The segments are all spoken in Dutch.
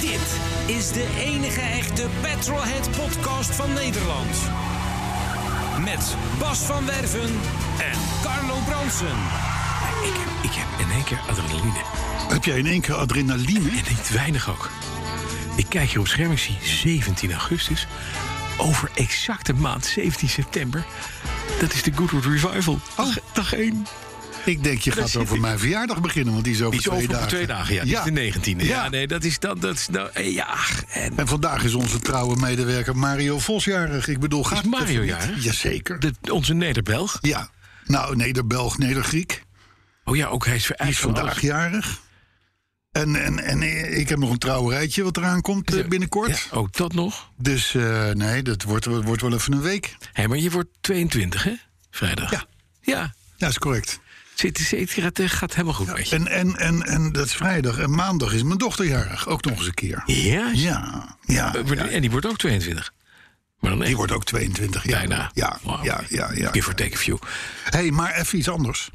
Dit is de enige echte Petrolhead podcast van Nederland. Met Bas van Werven en Carlo Bronsen. Ik heb, ik heb in één keer adrenaline. Heb jij in één keer adrenaline? En niet weinig ook. Ik kijk hier op het scherm, ik zie 17 augustus. Over exact een maand, 17 september. Dat is de Goodwood Revival. Oh. Dag, dag 1. Ik denk, je gaat zit over ik. mijn verjaardag beginnen, want die is over Die is twee over dagen. dagen. twee dagen, ja. Die is de 19e. Ja, Ja. nee, dat is dan... Dat is nou, eh, ja, en En vandaag is onze trouwe medewerker Mario Vosjarig. Ik bedoel, gaat het Mario even niet? jarig? Jazeker. de, onze Nederbelg. Ja. Nou, Neder-Belg, Neder-Griek. Oh ja, ook hij is, Die is vandaag jarig. En, en, en ik heb nog een trouwerijtje wat eraan komt eh, binnenkort. Ja, ook dat nog. Dus eh, nee, dat wordt, wordt wel even een week. Hé, maar je wordt 22, hè? Vrijdag. Ja. Ja. Ja, is correct. Zit, zit, gaat, gaat helemaal goed met je. En, en, en, en dat is vrijdag. En maandag is mijn dochter jarig. Ook nog eens een keer. Ja, Ja. ja, Eh, maar die- En die wordt ook 22. Maar dan Die wordt ook 22 jaar. bijna. Ja, Wauw. ja, ja. ja, Give or take a few. hey, maar even iets anders.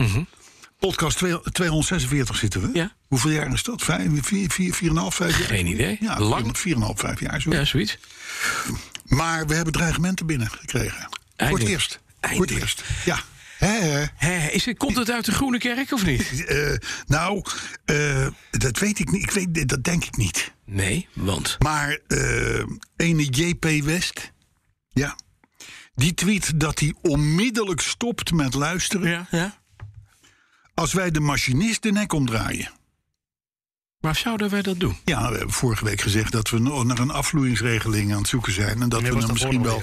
Podcast 2 246 zitten we. Mhm. Ja. Hoeveel jaar is dat? Vijf, vier, vier, vier en een half, vijf jaar? Geen idee. Ja, Lang. Lang. Vier, en een half, vijf jaar. Zo. Ja, zoiets. Maar we hebben dreigementen binnengekregen. Voor het Eindelijk. eerst. Voor het Eindelijk. eerst. Ja. Hè, hè. Hé, is het, komt het uit de Groene Kerk of niet? Eh, nou, eh, dat weet ik niet. Ik weet, dat denk ik niet. Nee, want... Maar eh ene JP West, ja, die tweet dat hij onmiddellijk stopt met luisteren ja. als wij de machinist de nek omdraaien. Maar zouden wij dat doen? Ja, we hebben vorige week gezegd dat we no- naar een afvloeingsregeling aan het zoeken zijn. En dat we hem misschien wel.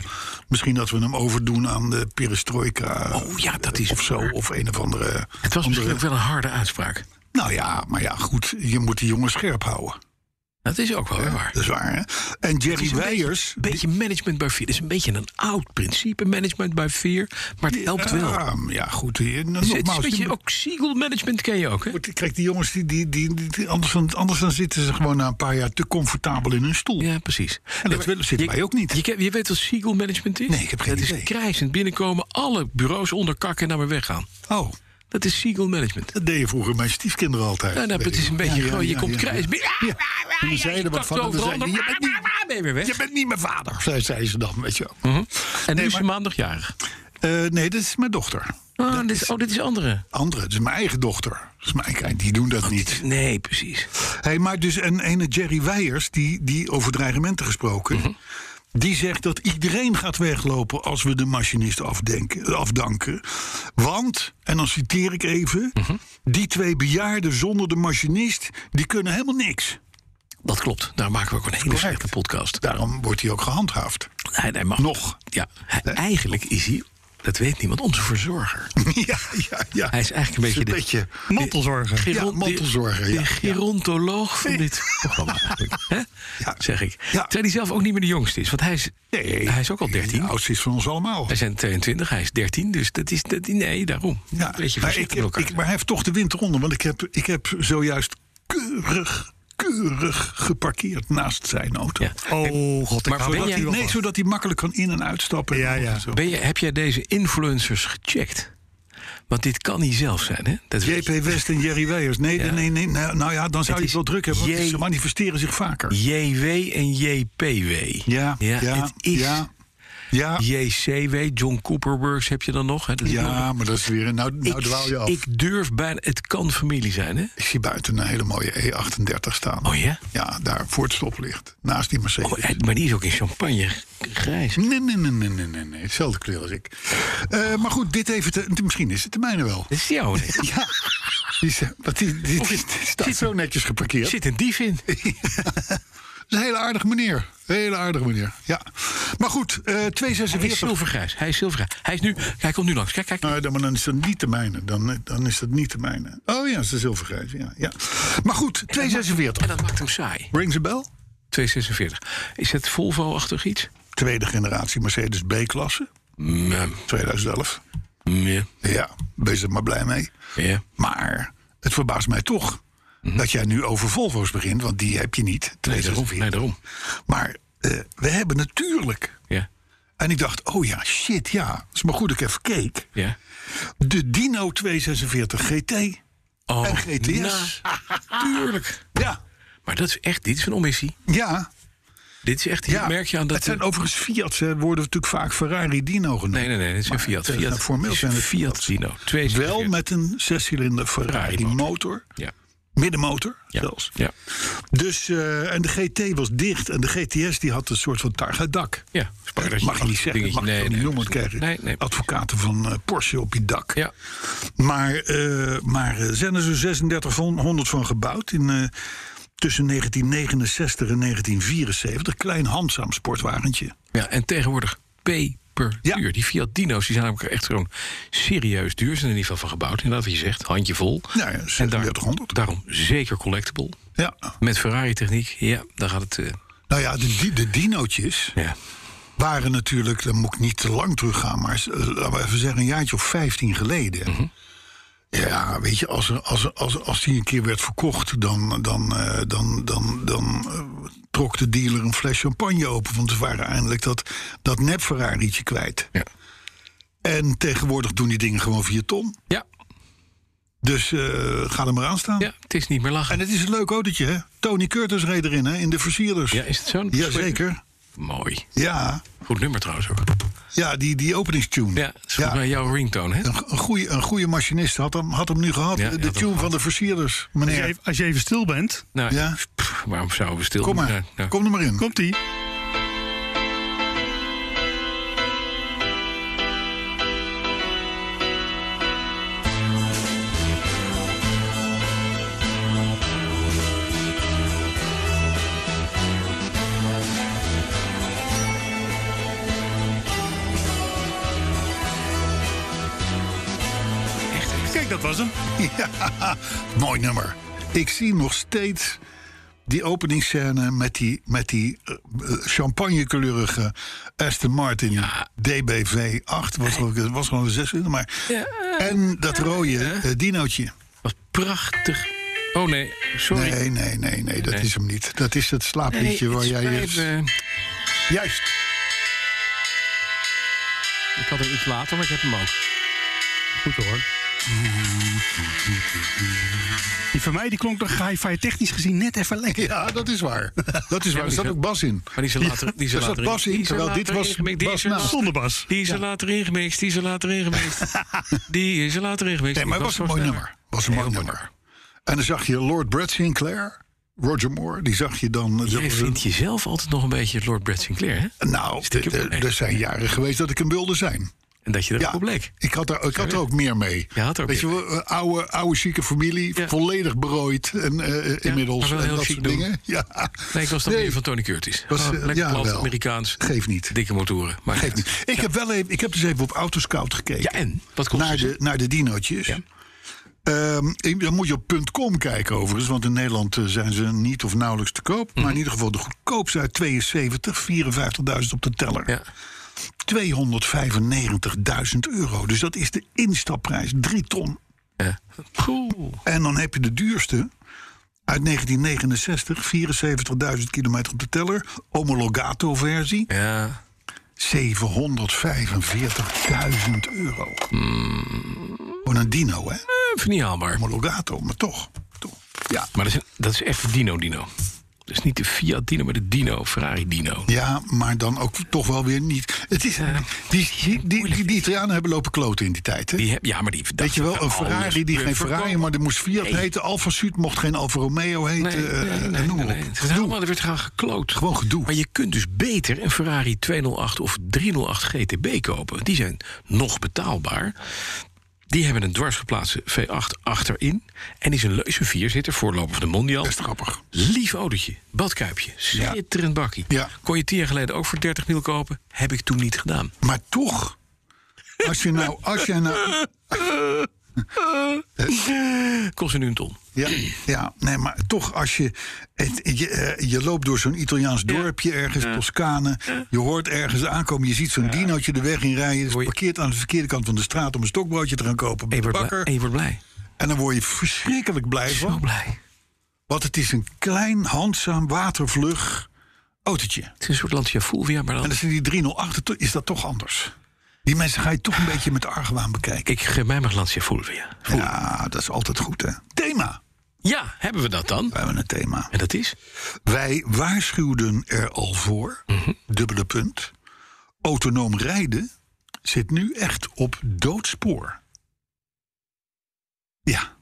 Misschien dat we hem overdoen aan de perestroika. Oh ja, dat is Of zo, of een of andere. Het was misschien ook wel een harde uitspraak. Nou ja, maar ja, goed. Je moet die jongen scherp houden. Dat is ook wel weer waar. Dat is waar, hè? En Jerry Weijers. Een beetje management by fear. Het is een beetje een oud principe, management by fear. Maar het helpt wel. Ja, ja, goed. hier- Dus het is een Nogmaals, beetje, je- ook single management ken je ook, hè? Wordt- Kijk, die jongens, die, die, die, die- die- anders, dan, anders dan zitten ze gewoon na een paar jaar te comfortabel in hun stoel. Ja, precies. En dat willen zitten wij ook niet. Je, ken- je weet wat Siegel Management is? Nee, ik heb geen dat idee. is krijsend binnenkomen, alle bureaus onderkakken en naar weer weggaan. Oh, Dat is Siegel Management. dat deden vroeger mijn stiefkinderen altijd. Nou, nou, het is een beetje Ja, ja, gewoon, je ja, komt ja, krijs ja. binnen. Ja, en dan zeiden we wat van, en dan zeiden je ze, je bent niet- ben je weer weg. Je bent niet mijn vader, zei, zei ze dan, weet je wel. Mhm. En nu Nee, is ze maar- maandagjarig. Eh, nee, dit is mijn dochter. Oh, dit dus- is, oh, dit is andere. Andere, het is mijn eigen dochter. Dat is mijn, kijk, die doen dat niet. Nee, precies. Hey, maar dus een ene Jerry Weijers, die, die over dreigementen gesproken... Mhm. die zegt dat iedereen gaat weglopen als we de machinist afdenken, afdanken. Want, en dan citeer ik even... Mhm. die twee bejaarden zonder de machinist, die kunnen helemaal niks. Dat klopt. Daar maken we ook een hele Correct. slechte podcast. Daarom wordt hij ook gehandhaafd. Hij, hij mag Nog. Ja, hij- eigenlijk is hij, dat weet niemand, onze verzorger. ja, ja, ja. Hij is eigenlijk een beetje de- beetje Mantelzorger. Ja, mantelzorger, De, ja, ja. gerontoloog van dit programma eigenlijk. Hè? Ja. Zeg ik. Ja. Terwijl hij zelf ook niet meer de jongste is. Want hij is, Nee. hij is ook al 13. De oudste is van ons allemaal. Wij zijn 22, hij is 13. Dus dat is... Dat, nee, daarom. Ja, een beetje maar, ik, voorzichtig met elkaar. ik, maar hij heeft toch de winter onder. Want ik heb, ik heb zojuist keurig, keurig geparkeerd naast zijn auto. Ja. Oh god, ik Maar hou ben dat jij- hier wel Nee, van. zodat hij makkelijk kan in- en uitstappen. Ja, ja. Zo. Ben je, heb jij deze influencers gecheckt? Want dit kan hij zelf zijn, hè? Dat weet JP West en Jerry Weijers. Nee, Ja. nee, nee, nee. Nou ja, dan Het zou je is het wel druk hebben. Want J- ze manifesteren zich vaker. je. JW en JPW. Ja, ja, ja. het is ja, ja, JCW, John Cooper Works heb je dan nog. Hè? Dat is nog- maar dat is weer... Nou, nou dwaal je af. Ik, ik durf bijna... Het kan familie zijn, hè? zie buiten een hele mooie E38 staan. Oh ja? Ja, daar voor het stoplicht. Naast die Mercedes. Oh, eh, maar die is ook in champagne g- grijs. Nee, nee, nee, nee, nee, nee, nee. Hetzelfde kleur als ik. Eh, maar goed, dit even. Te, misschien is het de mijne wel. eh, Dat is die oude. Er Ja. Oh, Die, is- wat die, die, die staat zo netjes geparkeerd. zit een dief in. is een hele aardige meneer. Hele aardige meneer. Ja. Maar goed, eh Hij is 246. zilvergrijs. Hij is zilvergrijs. Hij is nu. Hij komt nu langs. Kijk, kijk. Nou, dan, maar dan is dat niet de mijne. Dan, eh, dan is dat niet de mijne. Oh ja, ze is zilvergrijs. Ja, ja. Maar goed, En 246. dat maakt hem saai. Rings a bell? 246. Is dat Volvo-achtig iets? Tweede generatie Mercedes B-klasse. Mm, eh, 2011. mm, Ja. Ja, wees er maar blij mee. Ja. Maar het verbaast mij toch dat jij nu over Volvo's begint. Want die heb je niet. Mhm. Nee, daarom. 246. Nee, daarom. Maar eh, we hebben natuurlijk... Ja. En ik dacht, oh ja, shit, ja. Het is maar goed dat ik even keek. Ja. De Dino 246 GT. Oh, En GTS. Tuurlijk. Ja, Ah. Maar dat is echt, dit is een omissie. ja. Dit is echt, hier ja. merk je aan dat... het zijn de- overigens Fiat's, hè, worden natuurlijk vaak Ferrari Dino genoemd. Nee, nee, nee, dit is een Maar Fiat. het is, Fiat. nou, formeel Dit is zijn een het Fiat Fiat's. Dino. Twee Wel met een zescilinder Ferrari Ferrari motor. Ja. Middenmotor Ja. zelfs. Ja. Dus, eh, en de GT was dicht en de GTS die had een soort van targadak. Ja. Spar- dat Mag je niet zeggen, dat dingetje- mag je nee, ook nee, niet noemen. want dat is krijg je niet- Nee, nee. Advocaten van eh, Porsche op je dak. Ja. Maar, eh, maar eh, zijn er zo'n 3600 van gebouwd in, eh, tussen 1969 en 1974. Klein handzaam sportwagentje. ja. En tegenwoordig peper Ja. duur. Die Fiat Dino's die zijn namelijk echt gewoon serieus duur. Ze Zijn er niet veel van gebouwd. En dat wat je zegt, handjevol. Ja, ja, en daar- 3600. daarom zeker collectible. Ja. Met Ferrari-techniek, ja, daar gaat het... eh, Nou ja, de, di- de dinootjes ja. waren natuurlijk... dan moet ik niet te lang teruggaan, maar eh, laten we even zeggen... een jaartje of 15 geleden... Mhm. Ja, weet je, als, er, als, er- als, als die een keer werd verkocht, dan, dan, eh, dan, dan, dan eh, trok de dealer een fles champagne open. Want ze waren eindelijk dat, dat nep Ferrari'tje kwijt. Ja. En tegenwoordig doen die dingen gewoon vier ton. Ja. Dus eh, ga er maar aan staan. ja, het is niet meer lachen. En het is een leuk autootje, hè? Tony Curtis reed erin, hè? In de versierders. Ja, is het zo? Jazeker. Mooi. Ja, Goed nummer trouwens ook. ja die, die openingstune. Ja, dat is volgens mij jouw ringtone, hè? Een, go- een, goede, een goede machinist had hem, had hem nu gehad. Ja, de ja, de dat tune van de versierders, Als je meneer. even- Als je even stil bent, Nou, Ja. pff, waarom zouden we stil Kom maar, Nou, nou, kom er maar in. komt ie. echt, echt. Kijk, dat was hem. Ja, mooi nummer. Ik zie nog steeds die openingsscène met die, met die eh, eh, champagnekleurige Aston Martin DBV8. Was wel, het was wel een zescilinder, maar... en dat rode eh, dinootje. Wat prachtig. Oh nee, sorry. Nee, nee, nee, nee, dat is hem niet. Dat is het slaapliedje Nee, waar het jij... spijt je- me. Juist. Ik had hem iets later, maar ik heb hem ook. Goed hoor. Die van mij die klonk nog hi-fi technisch gezien net even lekker. Ja, dat is waar. Dat is waar. Er die zat is- ook Bas in. Maar die is er later, die is er Er zat later in- Bas in, die is er terwijl later dit was ingemixt, die is Bas er- naast. Zonder bas. Die is er later ingemixt, die is er later ingemixt. die is er later ingemixt. Nee, maar het was een mooi nummer. Was een mooi nummer. En dan zag je Lord Brad Sinclair, Roger Moore, die zag je dan... Nou, dat Jij was vindt jezelf altijd nog een beetje Lord Brad Sinclair, hè? een- nou, Stiekem. d- d- er zijn jaren geweest dat ik hem wilde zijn. En dat je er Ja. ook op bleek. Ik had er, ik had er ook meer mee. Je had er ook Weet je, wel, eh, oude, oude chique familie, Ja. volledig berooid en, eh, inmiddels. maar wel en heel dat chic soort doen. dingen. Ja. Nee, ik was dan Nee. weer van Tony Curtis. Was, Oh, eh, lekker ja, plat, wel. Amerikaans. Geef niet. Dikke motoren. Maar Geef niet. Ik, heb wel even, ik heb dus even op Autoscout gekeken. Ja, en? Wat kost naar het? de, naar de dinootjes. Ja. Ehm, ik- dan moet je op .com kijken overigens, want in Nederland eh, zijn ze niet of nauwelijks te koop. Mhm. Maar in ieder geval de goedkoopste uit 72, 54.000 op de teller. Ja. 295.000 euro. Dus dat is de instapprijs, 3 ton. ja. Poeh. En dan heb je de duurste uit 1969, 74.000 kilometer op de teller. Homologato versie. Ja. Eh, 745.000 euro. Hmm. Gewoon een dino, hè? Even niet haalbaar. Homologato, maar toch. toch. Ja. Maar dat is, dat is echt Dino Dino. Dat is niet de Fiat Dino, maar de Dino, Ferrari Dino. ja, maar dan ook toch wel weer niet. Het is, die, die, die, die, Italianen hebben lopen kloten in die tijd, hè? Die heb, ja, maar die Weet je wel, een dachten, Ferrari die alles geen Ferrari, verkopen. maar die moest Fiat heten. Alfa Sud mocht geen Alfa Romeo heten. Nee, eh, nee, eh, nee, noem maar nee, op. nee. Het is Gedoe. allemaal, er werd gaan gekloot. Gewoon gedoe. Maar je kunt dus beter een Ferrari 208 of 308 GTB kopen. Die zijn nog betaalbaar. Die hebben een dwarsgeplaatste V8 achterin. En is een leuze vierzitter, voorloper van de Mondial. Best grappig. Lief autootje, badkuipje, schitterend bakkie. Ja. Kon je tien jaar geleden ook voor 30 mil kopen? Heb ik toen niet gedaan. Maar toch, als je nou... Als je nou Kost je nu een ton. ja, ja, nee, maar toch als je... het- je, eh, je loopt door zo'n Italiaans dorpje ergens, Toscane. Je hoort ergens aankomen, je ziet zo'n dinootje de weg in rijden. Word Het je- parkeert aan de verkeerde kant van de straat om een stokbroodje te gaan kopen. En bij je de wordt blij. bakker. En je wordt blij. En dan word je verschrikkelijk blij Zo van. blij. Want het is een klein, handzaam, watervlug autootje. Het is een soort Lancia Fulvia, maar En dan... als je die 308 to- is dat toch anders. Die mensen ga je toch een beetje met argwaan bekijken. Ik geef mij maar Lancia Fulvia. Ja, dat is altijd goed, hè. Thema. Ja, hebben we dat dan? We hebben een thema. En dat is? Wij waarschuwden er al voor, Mhm. dubbele punt. Autonoom rijden zit nu echt op doodspoor. Ja,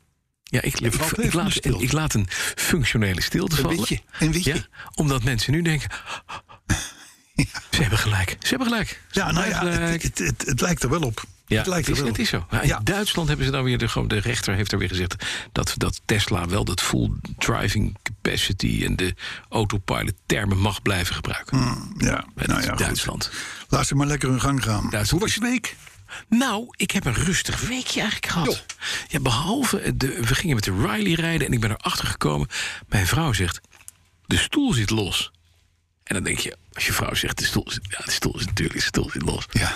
Ja, ik, ik, valt ik even in de laat, stilte. ik laat een functionele stilte vallen. witje, een witje. Ja, omdat mensen nu denken... Ze hebben gelijk. Ze hebben gelijk. Ze ja nou hebben ja, gelijk. het, het, het, het lijkt er wel op. Ja, het lijkt is, er wel het op. is zo. Maar in Ja. Duitsland hebben ze dan weer, de, gewoon de rechter heeft er weer gezegd... Dat, dat Tesla wel dat full driving capacity en de autopilot termen mag blijven gebruiken. Ja, Het nou is ja, goed. Duitsland. Laat ze maar lekker hun gang gaan. Duitsland Hoe was je week? Nou, ik heb een rustig weekje eigenlijk gehad. Ja, behalve, eh, de, we gingen met de Riley rijden en ik ben erachter gekomen. Mijn vrouw zegt, de stoel zit los. En dan denk je, als je vrouw zegt, de stoel zit, ja, de stoel zit natuurlijk, de stoel zit los. Ja,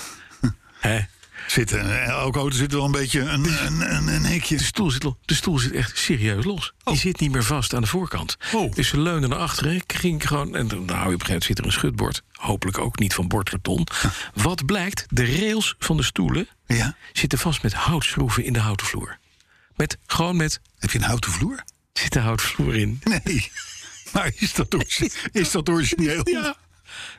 Hè? zit, eh, elke auto zit wel een beetje een, een, een, een hikje. De stoel, zit, lo- de stoel zit echt serieus los. Die zit niet meer vast aan de voorkant. Oh. Dus ze leunde naar achteren. Ik ging gewoon, en dan hou je op een gegeven moment zit er een schutbord. Hopelijk ook niet van bordkarton. Wat blijkt, de rails van de stoelen Ja. zitten vast met houtschroeven in de houten vloer. Met, gewoon met, Heb je een houten vloer? zit de houtvloer in. Nee. Maar is dat, orgi- is dat origineel? Ja,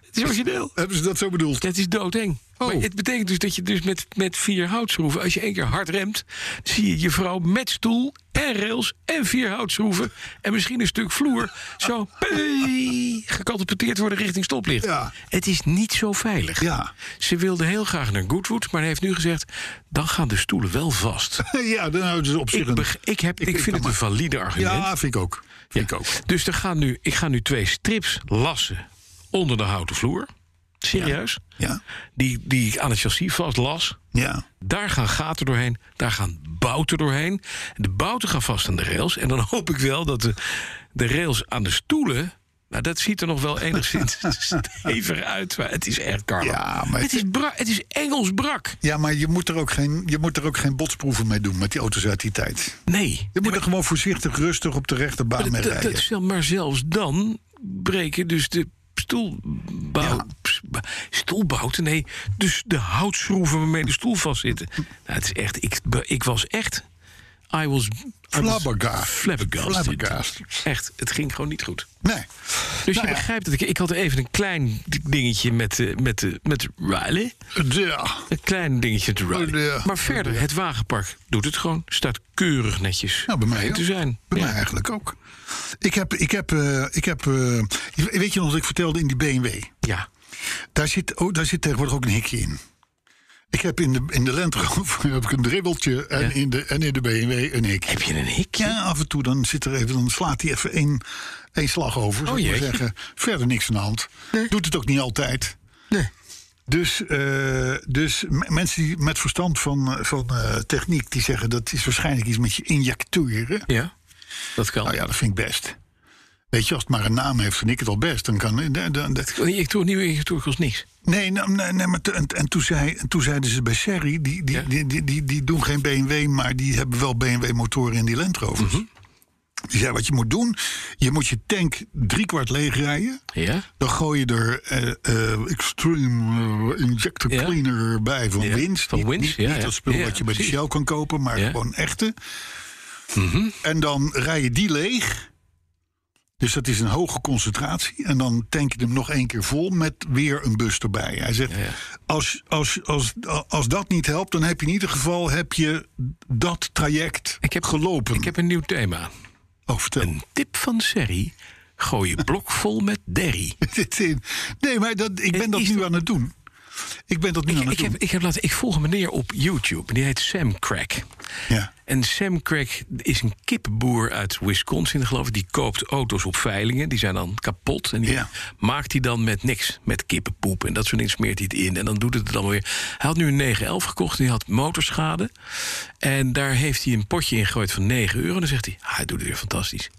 het is origineel. Hebben ze dat zo bedoeld? Het is doodeng. Oh. Maar het betekent dus dat je dus met, met vier houtschroeven... als je één keer hard remt, zie je je vrouw met stoel en rails... en vier houtschroeven en misschien een stuk vloer... zo pee, gecatapulteerd worden richting stoplicht. Ja. Het is niet zo veilig. Ja. Ze wilde heel graag naar Goodwood, maar hij heeft nu gezegd... dan gaan de stoelen wel vast. Ja, dan houden ze op zich Ik, een... beg- ik, heb, ik, vind het een valide argument. Ja, vind ik ook. Vind Ja. ik ook. Dus er gaan nu, ik ga nu twee strips lassen onder de houten vloer. Serieus. Ja. Die, die ik aan het chassis vast las. Ja. Daar gaan gaten doorheen, daar gaan bouten doorheen. De bouten gaan vast aan de rails. En dan hoop ik wel dat de, de rails aan de stoelen... Nou, dat ziet er nog wel enigszins stevig uit. Maar het is echt, Carlo. Ja, maar het, het- is bra- het is Engels brak. Ja, maar je moet, er ook geen, je moet er ook geen botsproeven mee doen met die auto's uit die tijd. Nee. Je moet er gewoon voorzichtig, rustig op de rechte baan mee Dat- dat- rijden. dat zelf- maar zelfs dan breken dus de stoelbouw, ps- ba- stoelbouten, nee, dus de houtschroeven waarmee de stoel vastzitten. Nou, het is echt, ik, be- ik was echt, I was, I was Flabbergast. flabbergasted. Flabbergast. Echt, het ging gewoon niet goed. Nee. Dus Nou je ja. begrijpt dat ik, ik had even een klein dingetje met, eh, met, eh, met Riley. Ja. Een klein dingetje te Riley. Oh, ja. Maar verder, het wagenpark doet het gewoon, staat keurig netjes Nou, bij mij ook. te zijn. Bij Ja. mij eigenlijk ook. Ik heb, ik heb, eh, ik heb eh, weet je nog wat ik vertelde in die BMW? ja. Daar zit, oh, daar zit tegenwoordig ook een hikje in. Ik heb in de, in de Land Rover heb ik een dribbeltje en, Ja. in de, en in de BMW een hikje. Heb je een hikje? Ja, af en toe dan, zit er even, dan slaat hij even één, één slag over. zou ik maar jee. zeggen. Verder niks aan de hand. Doet het ook niet altijd. Dus, eh, dus m- mensen die met verstand van, eh, van eh, techniek... die zeggen dat is waarschijnlijk iets met je injecteuren. Ja, dat kan. Nou ja, dat vind ik best. Weet je, als het maar een naam heeft, vind ik het al best. Dan kan, dan, dan, dan- Ik doe nieuwe ingetorkels niks. Nee, nou, nee, nee maar te- en, en toen, zei, en toen zeiden ze bij Sherry... Die, die, Ja. die, die, die, die doen geen BMW, maar die hebben wel BMW-motoren in die Land Rovers. Die zei, wat je moet doen, je moet je tank driekwart leeg rijden... Ja? Dan gooi je er eh, eh, Extreme eh, Injector Ja. Cleaner bij van Ja, Wins. van Niet- Wins, niet, ja, niet ja. dat spul Ja, wat je bij precies. de Shell kan kopen, maar Ja. Mhm. gewoon echte. En dan rij je die leeg. Dus dat is een hoge concentratie. En dan tank je hem nog één keer vol met weer een bus erbij. Hij zegt, ja. Als, als, als, als dat niet helpt, dan heb je in ieder geval heb je dat traject Ik heb- gelopen. Ik heb een nieuw thema. oh, vertel. Een tip van Serri. Gooi je blok vol met derry. Dit in. Nee, maar dat, ik ben dat is nu dat- aan het doen. Ik ben dat nu aan het ik, doen. heb, ik, heb laten, ik volg een meneer op YouTube. Die heet Sam Crack. Ja. En Sam Crack is een kippenboer uit Wisconsin, geloof ik. Die koopt auto's op veilingen. Die zijn dan kapot. En die Ja. maakt hij dan met niks. Met kippenpoep en dat soort dingen smeert hij het in. En dan doet het het allemaal weer. Hij had nu een 911 gekocht. En die had motorschade. En daar heeft hij een potje in gegooid van 9 euro. En dan zegt hij, ah, hij doet het weer fantastisch.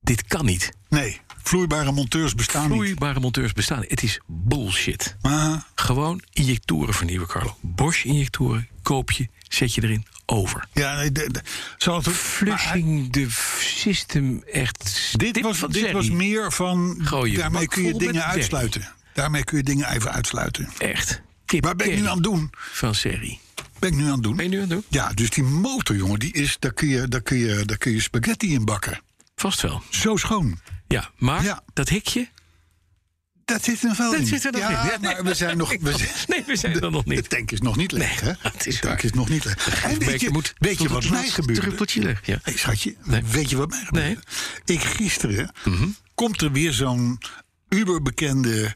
Dit kan niet. Nee, vloeibare monteurs bestaan niet. Vloeibare monteurs bestaan. niet. Het is bullshit. Maar Gewoon injectoren vernieuwen, Carlo. Bosch injectoren, koop je, zet je erin, over. ja, nee, de- de- zal het ook- maar Flushing de f- system echt... hij- dit was, van dit was Jerry. meer van. Gooi je daarmee bak kun je vol met dingen Jerry. uitsluiten. Daarmee kun je dingen even uitsluiten. Echt. Kip Waar ben ik nu Jerry aan het doen? Van serie. Ben ik nu aan het doen? Ben je nu aan het doen? Ja, dus die motor, jongen, die is, daar, kun je, daar, kun je, daar kun je spaghetti in bakken. Vast wel. Zo schoon. Ja, maar Ja. dat hikje... Dat zit er nog wel Dat in. zit er nog ja, in. Ja, nee. maar we zijn nog... We zijn, Nee, we zijn er nog de niet. tank is nog niet leeg, Nee, hè? dat is de tank waar. is nog niet leeg. En weet je, weet je wat mij gebeurde? Druppeltje leeg, ja. Hey, schatje, weet je wat mij gebeurde? Nee. Mhm. Ik gisteren komt er weer zo'n uberbekende,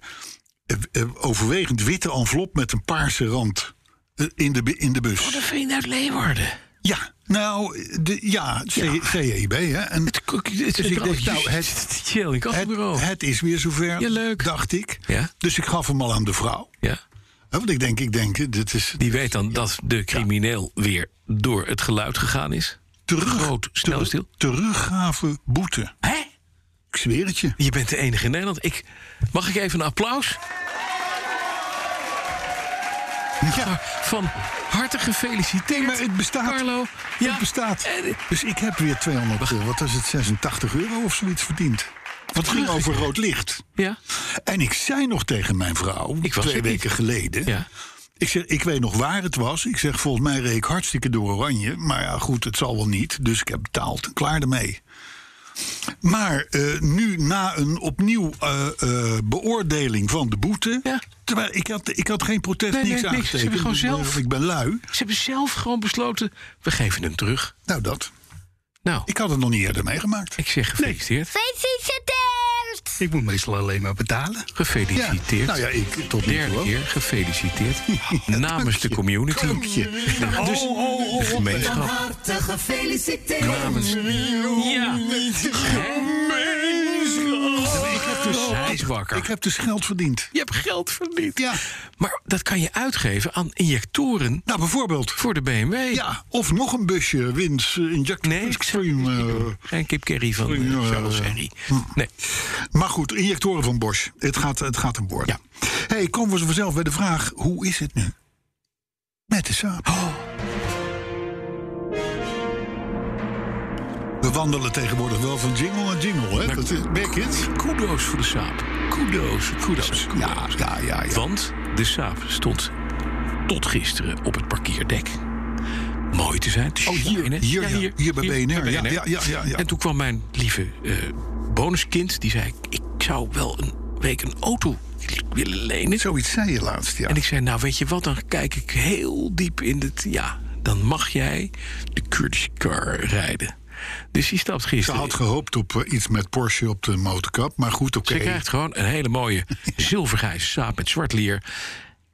eh, eh, overwegend witte envelop met een paarse rand eh, in de, bu- in de bus. De vriend uit nou Leeuwarden. Ja, nou, de, ja, C- CEB, hè? En Het, het, het, Dus ik denk, nou, het- het chill in het, kassenbureau. het is weer zover, Ja, leuk. dacht ik. Ja. Dus ik gaf hem al aan de vrouw. Ja. Hè, Want ik denk, ik denk, eh, dit is Die weet dan dat de crimineel weer door het geluid gegaan is. terug, groot, snel terug- stil. teruggave boete. Hè? Ik zweer het je. Je bent de enige in Nederland. Ik, mag ik even een applaus? Ja. Ah, Van harte gefeliciteerd. Nee, maar het bestaat. Carlo. Eh, Het bestaat. En- Dus ik heb weer 200, eh, wat is het, 86 euro of zoiets verdiend. Want het ging Terug. over rood licht. ja. En ik zei nog tegen mijn vrouw, Ik was twee het niet. weken geleden... Ja. Ik, zeg, ik weet nog waar het was. Ik zeg, volgens mij reed ik hartstikke door oranje. Maar ja, goed, het zal wel niet. Dus ik heb betaald. en Klaar ermee. Maar eh, nu na een opnieuw eh, eh, beoordeling van de boete... Ja. Terwijl ik had, ik had geen protest, Nee, nee, niks niks. Ze hebben aangetekend. gewoon Ik ben- zelf- Ik ben lui. Ze hebben zelf gewoon besloten. We geven hem terug. Nou, dat. Nou, ik, Ik had het nog niet eerder meegemaakt. zeg gefeliciteerd. Gefeliciteerd! Ik moet meestal alleen maar betalen. Gefeliciteerd. Nou ja, ik tot nu toe Derde wel. keer gefeliciteerd. Namens de community. Oh, Dus de gemeenschap. Namens. Ja. Gemeenschap. Hij is wakker. Ik heb dus geld verdiend. Je hebt geld verdiend. Ja. Maar dat kan je uitgeven aan injectoren Nou, bijvoorbeeld. voor de BMW. Ja, of nog een busje wins eh, injector Nee, ik zou Extreme. eh, Geen Kip Kerry van eh, Ja. Hm. Charles Henry. Nee. eh, Maar goed, injectoren van Bosch. Het gaat, het gaat een woord. Ja. hey, komen we vanzelf bij de vraag: hoe is het nu? Met de saap. Oh. We wandelen tegenwoordig wel van jingle naar jingle, hè? Dat is back it. Kudo's voor de saap. Kudo's. Kudo's. Ja, ja, ja. ja. Want de saap stond tot gisteren op het parkeerdek. Mooi te zijn. te Oh, hier, shinen. hier, ja. Hier bij BNR, ja, ja, ja, ja, ja. En toen kwam mijn lieve eh, bonuskind. Die zei, ik zou wel een week een auto willen lenen. Zoiets zei je laatst, ja. En ik zei, nou weet je wat, dan kijk ik heel diep in het... Ja, dan mag jij de Kurdish car rijden. Dus die stapt Ze gisteren... had gehoopt op eh, iets met Porsche op de motorkap. Maar goed, oké. Ze krijgt gewoon een hele mooie zilvergrijze saap met zwart lier.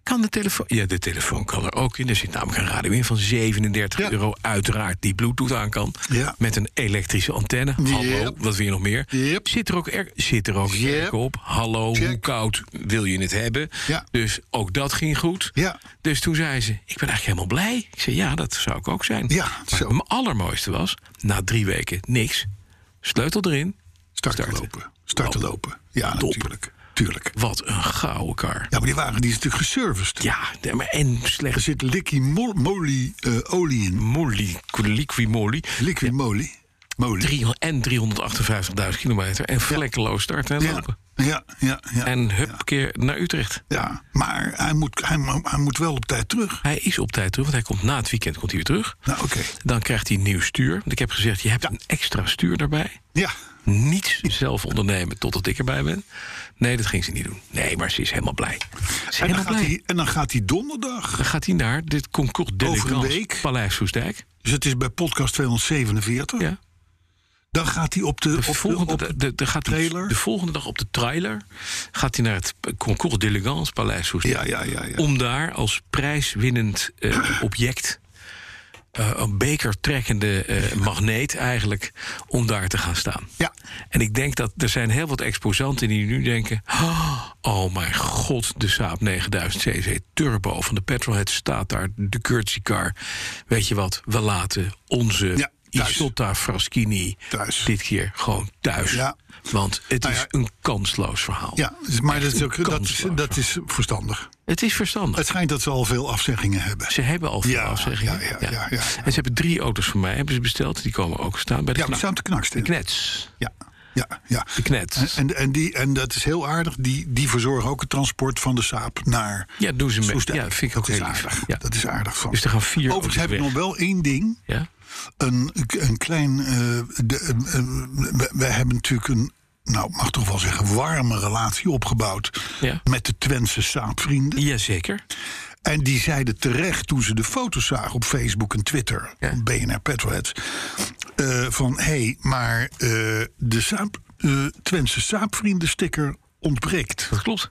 Kan de telefoon... Ja, de telefoon kan er ook in. Er zit namelijk een radio in van 37 Ja. euro. Uiteraard die bluetooth aan kan. Ja. Met een elektrische antenne. Hallo, Yep. wat wil je nog meer? Yep. Zit er ook, air, zit er ook Yep. airco op? Hallo, hoe Check. koud wil je het hebben? Ja. Dus ook dat ging goed. Ja. Dus toen zei ze, ik ben eigenlijk helemaal blij. Ik zei, ja, dat zou ik ook zijn. Ja, maar zo. het allermooiste was, na drie weken niks. Sleutel erin. Starten, Starten. lopen. Starten lopen. Ja, Top. natuurlijk. Tuurlijk. Wat een gouden kar. Ja, maar die wagen die is natuurlijk geserviced. Ja, nee, maar en Er slechts zit likkie mol- moly eh, olie in. moly, liquimoli. Liquid moly. Moly. Drie- En 358.000 kilometer. En vlekkeloos starten en ja. lopen. Ja, ja, ja. En hup, keer naar Utrecht. ja. Maar hij moet, hij, mo- hij moet wel op tijd terug. Hij is op tijd terug, want hij komt na het weekend komt hij weer terug. Nou, oké. Dan krijgt hij een nieuw stuur. Want ik heb gezegd, je hebt een extra stuur daarbij. Ja. Niets zelf ondernemen totdat ik erbij ben. Nee, dat ging ze niet doen. Nee, maar ze is helemaal blij. Ze is En dan, helemaal gaat blij. hij, en dan gaat hij donderdag. Dan gaat hij naar dit Concours Over een d'Elegance week. Paleis Soestdijk. Dus het is bij podcast 247. Ja. Dan gaat hij op de, op De de- volgende, op da- de- de, de, gaat hij- trailer. de volgende dag op de trailer gaat hij naar het Concours d'Elegance Paleis. Soest. Ja, ja, ja. ja. Om daar als prijswinnend eh, object, eh, een bekertrekkende eh, magneet eigenlijk, om daar te gaan staan. Ja. En ik denk dat er zijn heel wat exposanten die nu denken... oh mijn god, de Saab 9000 cc Turbo van de Petrolhead staat daar. De courtesy car. Weet je wat, we laten onze Ja, thuis. Isotta Fraschini Thuis. dit keer gewoon thuis. Ja. Want het Nou is ja. een kansloos verhaal. Ja, dus- maar dat is, ook, dat, is- kansloos. dat is verstandig. Het is verstandig. Het schijnt dat ze al veel afzeggingen hebben. Ze hebben al veel Ja, afzeggingen. ja, ja, ja, ja. En ze hebben drie auto's van mij hebben ze besteld. Die komen ook staan bij de Ja, we kna- staan te knaksten. knets. Ja, ja, ja. De knets. En, en, die, en dat is heel aardig. Die, die verzorgen ook het transport van de saap naar Ja, doen ze mee. Soestdijk. Ja, vind ik dat ook is heel lief. aardig. Ja. Dat is aardig van. Dus er gaan vier Overigens auto's heb ik weg. nog wel één ding. Ja? Een, een klein. eh, de, eh, we, we hebben natuurlijk een. Nou, ik mag toch wel zeggen, warme relatie opgebouwd Ja. met de Twentse saapvrienden. Jazeker. En die zeiden terecht toen ze de foto's zagen op Facebook en Twitter, Ja. BNR Petrolheads, eh, van hé, hey, maar eh, de saap, eh, Twentse saapvrienden sticker ontbreekt. Dat klopt.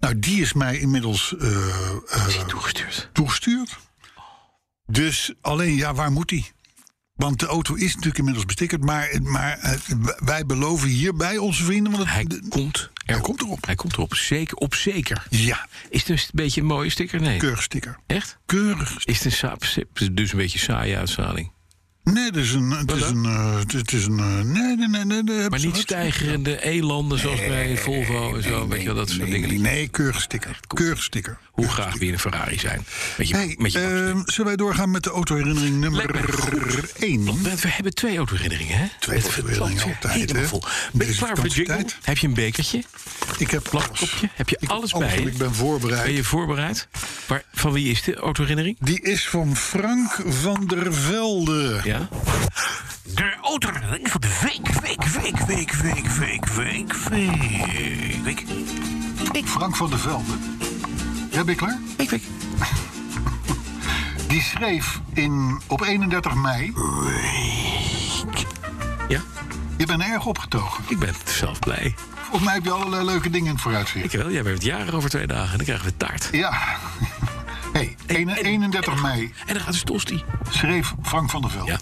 Nou, die is mij inmiddels eh, eh, Is die toegestuurd? toegestuurd. Dus alleen, ja, waar moet die? Want de auto is natuurlijk inmiddels bestickerd, maar, maar eh, w- wij beloven hierbij onze vrienden. Want het, Hij de- komt erop. hij komt erop. Hij komt erop. Zeker. Op zeker. ja, Is het een beetje een mooie sticker? Nee. keurig sticker. Echt? Keurig sticker. Is het een saap, dus een beetje saaie uitstraling? Nee, het is een. Het is een, eh, het- het is een eh, nee, nee, nee, nee. nee Maar niet stijgerende elanden zoals bij Volvo en zo. weet je wel, dat soort dingen. Nee, nee, keurig sticker. Keurig sticker. Hoe graag we in een Ferrari zijn. Met je, Hey, met je ehm, zullen wij doorgaan met de autoherinnering Lijkt mij nummer 1? we, we hebben twee autoherinneringen, hè? Twee Het autoherinneringen vertelt weer altijd, helemaal hè? dus vol. Ben je Deze klaar voor de jingle? vakantietijd. Heb je een bekertje? Ik heb alles. Plakpopje? Heb je Ik heb alles bij je? Ik ben voorbereid. Ben je voorbereid? Waar, van wie is de autoherinnering? Die is van Frank van der Velde. Ja? De autoherinnering van de week, week, week, week, week, week, week, week, week. Frank van der Velde. Ja, ben je klaar? Ik weet Die schreef in, op 31 mei. Ja? Je bent erg opgetogen. Ik ben zelf blij. Volgens mij heb je allerlei leuke dingen in het vooruitzicht. Ik wel. Jij bent jaren over twee dagen en dan krijgen we taart. Ja. Hey, en- 31 mei En dan gaat de tosti. schreef Frank van der Velde. Ja.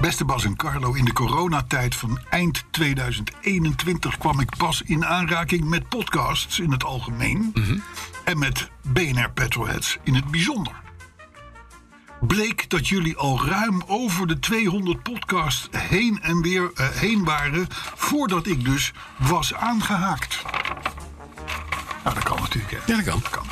Beste Bas en Carlo, in de coronatijd van eind 2021 kwam ik pas in aanraking met podcasts in het algemeen. Mhm. En met BNR Petrolheads in het bijzonder. Bleek dat jullie al ruim over de 200 podcasts heen en weer eh, heen waren. voordat ik dus was aangehaakt. Nou, dat kan natuurlijk. Hè. Ja, dat kan.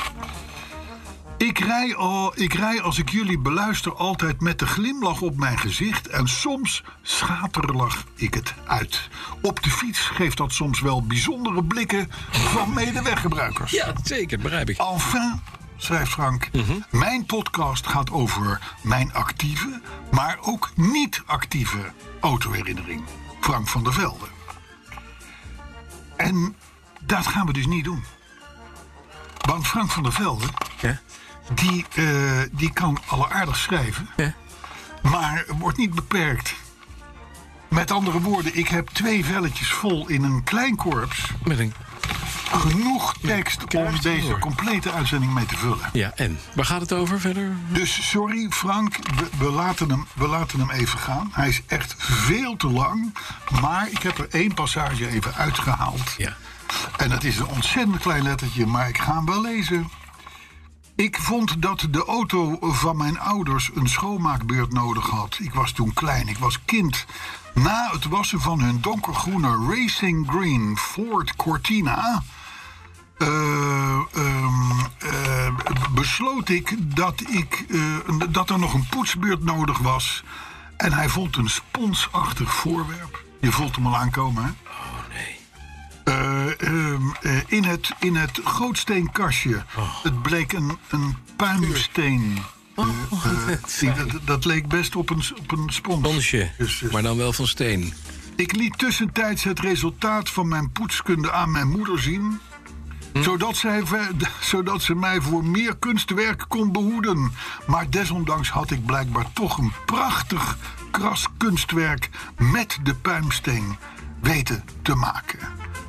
Ik rij, al, ik rij als ik jullie beluister altijd met de glimlach op mijn gezicht en soms schaterlach ik het uit. Op de fiets geeft dat soms wel bijzondere blikken van medeweggebruikers. Ja, zeker. Begrijp ik. Enfin, schrijft Frank, mijn podcast gaat over mijn actieve, maar ook niet-actieve autoherinnering. Frank van der Velde. En dat gaan we dus niet doen. Want Frank van der Velde, Ja? die, eh, die kan alleraardig schrijven, Ja? maar wordt niet beperkt. Met andere woorden, ik heb twee velletjes vol in een klein korps. Met een... Genoeg tekst om deze complete uitzending mee te vullen. Ja, en? Waar gaat het over verder? Dus sorry Frank, we, we laten hem, we laten hem even gaan. Hij is echt veel te lang. Maar ik heb er één passage even uitgehaald. Ja. En dat is een ontzettend klein lettertje, maar ik ga hem wel lezen. Ik vond dat de auto van mijn ouders een schoonmaakbeurt nodig had. Ik was toen klein, ik was kind. Na het wassen van hun donkergroene Racing Green Ford Cortina... eh, ehm, eh, besloot ik dat, ik eh, dat er nog een poetsbeurt nodig was. En hij vond een sponsachtig voorwerp. Je voelt hem al aankomen, hè? Eh, ehm, eh, in, het, in het gootsteenkastje. Het bleek een, een puimsteen. Eh, die- dat, dat leek best op een, s- op een spons. Dansje. Dus, eh, Maar dan wel van steen. ik liet tussentijds het resultaat van mijn poetskunde aan mijn moeder zien. Hm? Zodat, zij, ver- zodat ze mij voor meer kunstwerk kon behoeden. Maar desondanks had ik blijkbaar toch een prachtig kras kunstwerk met de puimsteen weten te maken.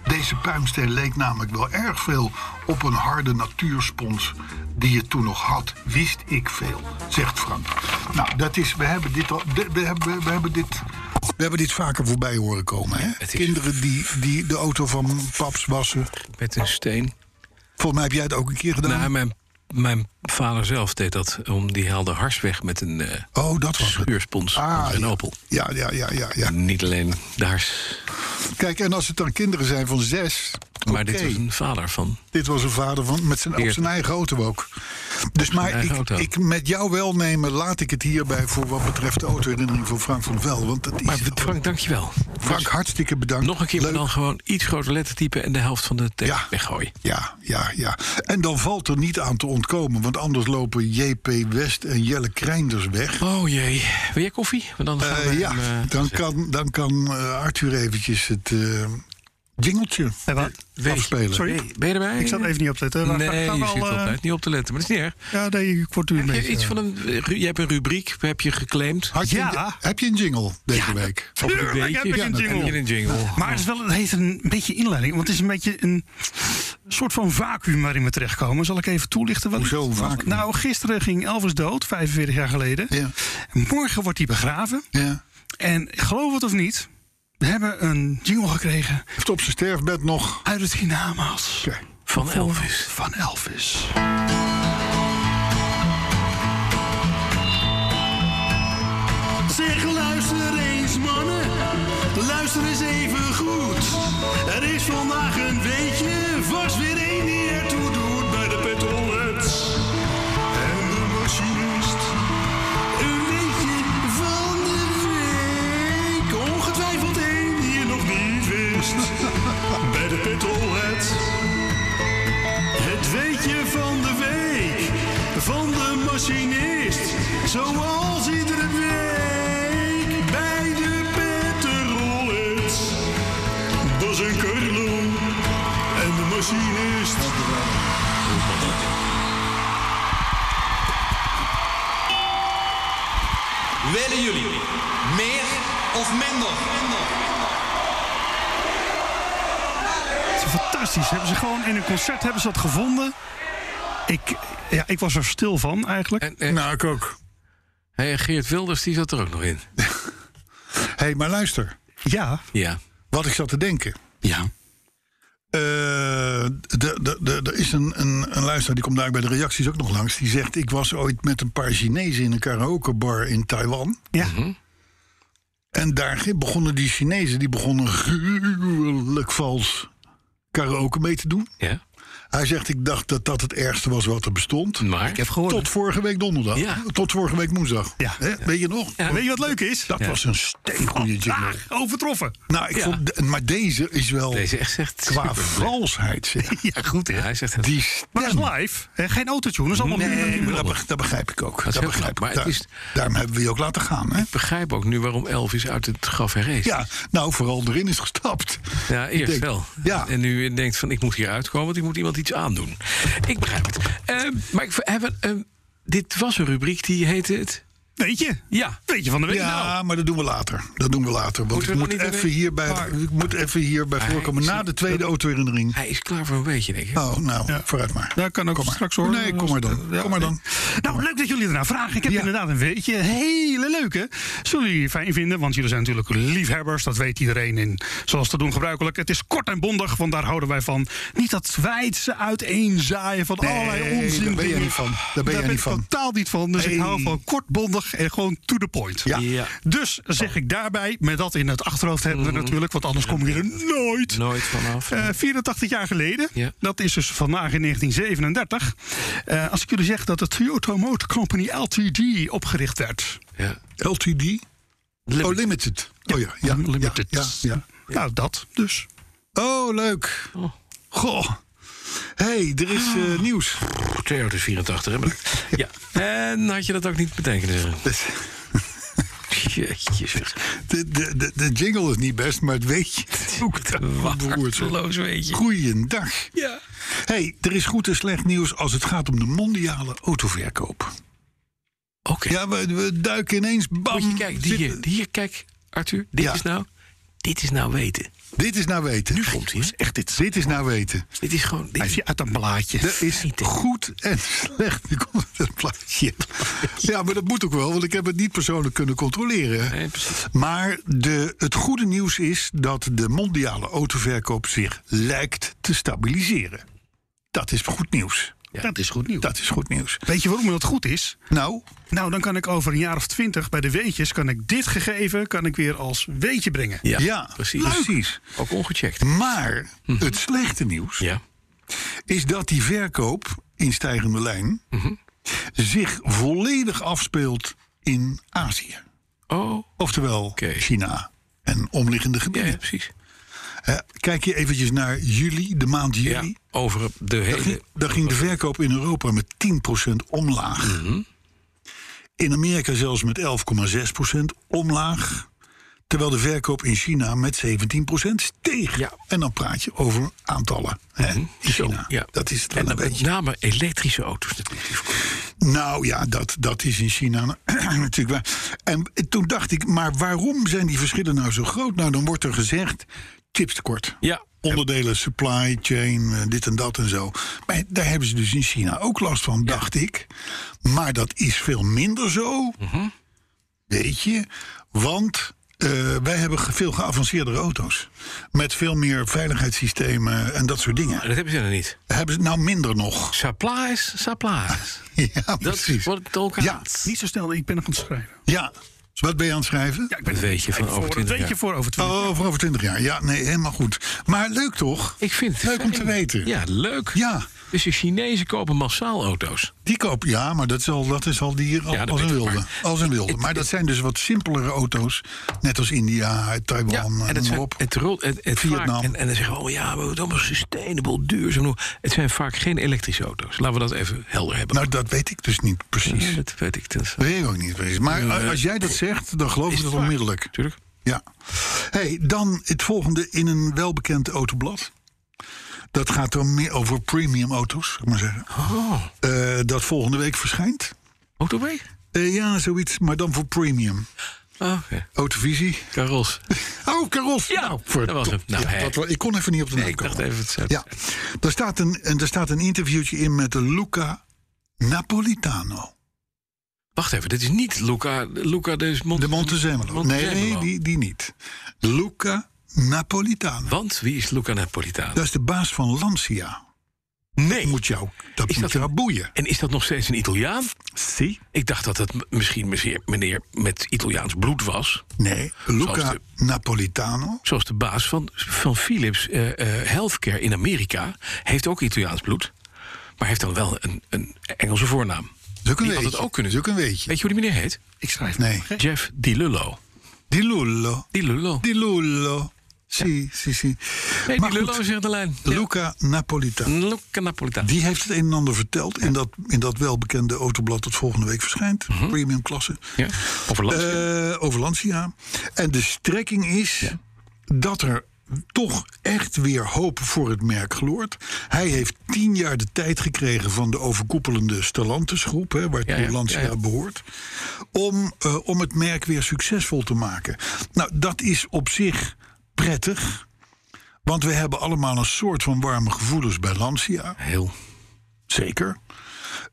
Deze puimsteen leek namelijk wel erg veel op een harde natuurspons die je toen nog had. Wist ik veel, zegt Frank. Nou, dat is, we hebben dit, al- de- we hebben, we hebben dit, we hebben dit vaker voorbij horen komen. Hè? het is- Kinderen die, die de auto van paps wassen. Met een steen. Volgens mij heb jij het ook een keer gedaan. Nou, mijn, mijn vader zelf deed dat. Om, die haalde hars weg met een eh oh, dat was het. schuurspons van zijn ja. Opel. Ja, ja, ja, ja, ja. Niet alleen de hars. Kijk, en als het dan kinderen zijn van zes. Maar dit oké. was een vader van. Dit was een vader van, met zijn, op Heerlijk. zijn eigen auto ook. Dus maar eigen ik, auto. ik met jou welnemen laat ik het hierbij voor wat betreft de autoherinnering van Frank van Vel. Want dat is Maar Frank, dankjewel. Frank, hartstikke bedankt. Nog een keer, maar Leuk. dan gewoon iets groter lettertype en de helft van de tekst Ja. weggooien. Ja, ja, ja. En dan valt er niet aan te ontkomen, want anders lopen JP West en Jelle Kreinders weg. Oh jee. Wil jij koffie? Want dan gaan Eh, we hem, ja, eh, dan kan, dan kan eh, Arthur eventjes het eh jingeltje Hey, wat? weet- afspelen. Sorry. Hey, ben je erbij? Ik zat even niet op te letten. Maar Nee, gaan je we al, zit eh, op tijd niet op te letten, maar dat is niet erg. Ja, nee, ik word u Heb je mee. iets eh. van een, je hebt een rubriek, heb je geclaimd? Had je Ja. een- heb je een jingle deze week? Of een Tuurlijk heb ik Ja, een dat jingle. heb je een jingle. Maar het, is wel, het heeft een beetje inleiding, want het is een beetje een soort van vacuüm waarin we terechtkomen. Zal ik even toelichten? Wat Hoezo een vacuüm? Nou, gisteren ging Elvis dood, 45 jaar geleden. Ja. En Morgen wordt hij begraven. Ja. En geloof het of niet, we hebben een jingle gekregen Heeft op zijn sterfbed nog. uit het Hinamaals Oké. Van Elvis. van Elvis. Zeg, luister eens mannen, luister eens even goed. Er is vandaag een weetje, vast weer één die ertoe doet bij de petrolheads en de machinist. Een weetje van de week, ongetwijfeld één die je nog niet wist bij de petrolheads. Het weetje van de week van de machinist. Zoals iedere week bij de Petterrollets. Bas en Carlo en de machinist. Willen jullie meer of minder? Het is fantastisch. Hebben ze gewoon in een concert hebben ze dat gevonden. Ik, ja, ik was er stil van eigenlijk. En, eh, Nou, ik ook. hey, Geert Wilders, die zat er ook nog in. Hé, hey, maar luister. Ja. Ja. Wat ik zat te denken. Ja. Eh, de- de- de- Er is een, een, een luisteraar die komt daar bij de reacties ook nog langs. Die zegt: Ik was ooit met een paar Chinezen in een karaokebar in Taiwan. Ja. En daar ge- begonnen die Chinezen die begonnen gruwelijk vals karaoke mee te doen. Ja. Hij zegt: Ik dacht dat dat het ergste was wat er bestond. Maar. Ik heb gehoord. Tot vorige week donderdag. Ja. Tot vorige week woensdag. Ja. Hè, Weet je nog? Weet je wat leuk is? Dat was een steengoede jingle. Vandaag overtroffen. Nou, ik Ja. vond, de- maar deze is wel Deze echt zegt. qua superleuk. valsheid. Zeg. Ja, goed hè. Ja, hij zegt het. Die Maar dat is live. Hè? Geen autotune. Dat is allemaal Nee, maar minder. dat, beg- dat begrijp ik ook. is Dat heel begrijp knap, ik. maar het Daar- is- daarom hebben we je ook laten gaan. Hè? Ik begrijp ook nu waarom Elvis uit het graf herrees. Ja, nou, vooral erin is gestapt. Ja, eerst denk- wel. ja. En nu denkt van, ik moet hier uitkomen, want ik moet iemand iets aandoen. Ik begrijp het. Ehm, maar ik, hebben, ehm, dit was een rubriek die heette het... Weet je? Ja. Weet je van de week? Nou, Ja, maar dat doen we later. Dat doen we later. Want Moeten ik we moet, nog niet Ah, even erin? hierbij, Maar- ik moet even hierbij Maar voorkomen. hij- Na de tweede autoherinnering. Hij is klaar voor een beetje, denk ik. Oh, nou, vooruit maar. Daar kan ook Kom maar. straks hoor. Nee, kom maar dan. Ja, Kom maar dan. Nou, leuk dat jullie ernaar vragen. Ik heb inderdaad een weetje. Hele leuke. Zullen jullie fijn vinden, want jullie zijn natuurlijk liefhebbers. Dat weet iedereen in, zoals te doen gebruikelijk. Het is kort en bondig, want daar houden wij van. Niet dat wijdse uiteenzaaien van allerlei daar onzin. ben jij dingen. niet van. Daar ben jij ik niet van. totaal niet van. Dus ik Nee. hou van kort, bondig en gewoon to the point. Ja. Ja. Dus zeg ik daarbij, met dat in het achterhoofd hebben we natuurlijk... want anders kom je er nooit Nooit vanaf. eh 84 jaar geleden. Ja. Dat is dus vandaag in 1937. Eh, als ik jullie zeg dat de Toyota Motor Company LTD opgericht werd. ja. LTD? Oh, Limited. Oh ja. ja, Limited. Ja, ja, ja. Nou, dat dus. Oh, leuk. Goh. hey, er is Ah. eh, nieuws. Theo is 84, hè? maar- Ja. En had je dat ook niet betekend, zeggen? Jeetje, zeg. De, de, de, de jingle is niet best, maar het weet je. Ook Waardeloos, weet je. Goeiedag. Ja. hey, er is goed en slecht nieuws als het gaat om de mondiale autoverkoop. Oké. Ja, we, we duiken ineens. Bam, Moet je kijken, die eh, hier, zitten- die hier, kijk, Arthur. Dit Ja. is nou, dit is nou weten. Dit is nou weten. Nu komt hij. hè? Echt dit. Dit is nou weten. Dit is gewoon. Dit Blijf je uit een blaadje. Er is Feiten. goed en slecht. Nu komt het plaatje. Ja, maar dat moet ook wel, want ik heb het niet persoonlijk kunnen controleren. Nee, precies. Maar de, het goede nieuws is dat de mondiale autoverkoop zich lijkt te stabiliseren. Dat is goed nieuws. dat is goed nieuws. Dat is goed nieuws. Weet je waarom dat goed is? Nou, Nou, dan kan ik over een jaar of twintig bij de weetjes... kan ik dit gegeven kan ik weer als weetje brengen. Ja, ja, precies. precies. Ook ongecheckt. Maar het slechte nieuws Ja. is dat die verkoop in stijgende lijn Mhm. zich volledig afspeelt in Azië. Oh, Oftewel China en omliggende ja, gebieden. ja, precies. Eh, kijk je eventjes naar juli, de maand Ja, juli. over de Daar, ging, hele. daar ging de verkoop in Europa met 10% omlaag. Mhm. In Amerika zelfs met 11,6% omlaag. Terwijl de verkoop in China met 17% steeg. Ja. Mhm. En dan praat je over aantallen. Hè, in China. ja. Dat is het wel En een dan met beetje. name elektrische auto's natuurlijk. die verkopen. Nou ja, dat, dat is in China natuurlijk waar. En toen dacht ik, maar waarom zijn die verschillen nou zo groot? Nou, dan wordt er gezegd, chipstekort. Ja. Onderdelen, supply chain, eh, dit en dat en zo. Maar daar hebben ze dus in China ook last van, dacht ik. Maar dat is veel minder zo. Mhm. Weet je? Want eh, wij hebben ge- veel geavanceerdere auto's. Met veel meer veiligheidssystemen en dat soort dingen. Maar dat hebben ze dan niet. Hebben ze nou minder nog? Supplies, supplies. Ja, Dat is precies. wat het ook Ja. gaat. Niet zo snel, ik ben nog aan het schrijven. Ja. Dus Wat ben je aan het schrijven? Ja, ik ben Het weetje van voor- over 20 Het weetje jaar. voor over 20 Oh, voor over 20 jaar. Ja, nee, helemaal goed. Maar leuk toch? Ik vind het leuk fijn. om te weten. Ja, leuk. Ja. Dus de Chinezen kopen massaal auto's. Die koop, ja, maar dat is al, dat is al die, al- Ja, dat als een weet ik, wilde. maar- Als een wilde. Het- Maar dat zijn dus wat simpelere auto's. Net als India, Taiwan, en en dat noem maar zijn, op. het, rol- het, het Vietnam. vaak- en, en dan zeggen we, oh ja, we moeten allemaal sustainable, duurzaam. Het zijn vaak geen elektrische auto's. Laten we dat even helder hebben. Nou, dat weet ik dus niet precies. Ja, dat weet ik. dus, eh, Dat is, Dat weet ik ook niet precies. Maar eh, als jij dat zegt, dan geloof ik dat waar. onmiddellijk. Tuurlijk. Ja. hey, dan het volgende in een welbekend autoblad. Dat gaat dan meer over premium auto's, zou ik maar zeggen. Oh, Eh, dat volgende week verschijnt. autoway? Eh, ja, zoiets, maar dan voor premium. Oh, oké. Autovisie. Karos. Oh, Karos. Ja, Nou, voor- dat was hem. Nou, Ja, hè. dat wa- ik kon even niet op de naam Nee, ik dacht komen. even het zou- Ja, daar staat, een, en daar staat een interviewtje in met Luca Napolitano. Wacht even, dit is niet Luca, Luca de, Mont De Montezemolo. Nee, nee die, die niet. Luca Napolitano. Want wie is Luca Napolitano? Dat is de baas van Lancia. nee. Moet jou, dat Is moet dat- jou boeien. En is dat nog steeds een Italiaan? Zie? Ik dacht dat dat m- misschien meneer, meneer met Italiaans bloed was. Nee, Luca Zoals Napolitano. Zoals de baas van, van Philips eh, eh, Healthcare in Amerika. Heeft ook Italiaans bloed. Maar heeft dan wel een, een Engelse voornaam. Zoek een Die had het weetje. ook kunnen Zoek een weetje. Weet je hoe die meneer heet? Ik schrijf Nee. Jeff Di Lullo. Di Lullo. Di Lullo. Di Lullo. Zie, zie, zie. Nee, Maar Di Lullo goed, is weer de lijn. Ja. Luca Napolitano. Luca Napolitano. Die heeft het een en ander verteld in dat, in dat welbekende autoblad dat volgende week verschijnt. Premium klasse. Mhm. Ja. Over Lancia. Eh, over Lancia. En de strekking is dat er toch echt weer hoop voor het merk gloort. Hij heeft tien jaar de tijd gekregen van de overkoepelende Stellantis groep... Hè, waartoe Ja, ja, Lancia ja, ja. behoort, om, eh, om het merk weer succesvol te maken. Nou, dat is op zich prettig... Want we hebben allemaal een soort van warme gevoelens bij Lancia. Heel. Zeker.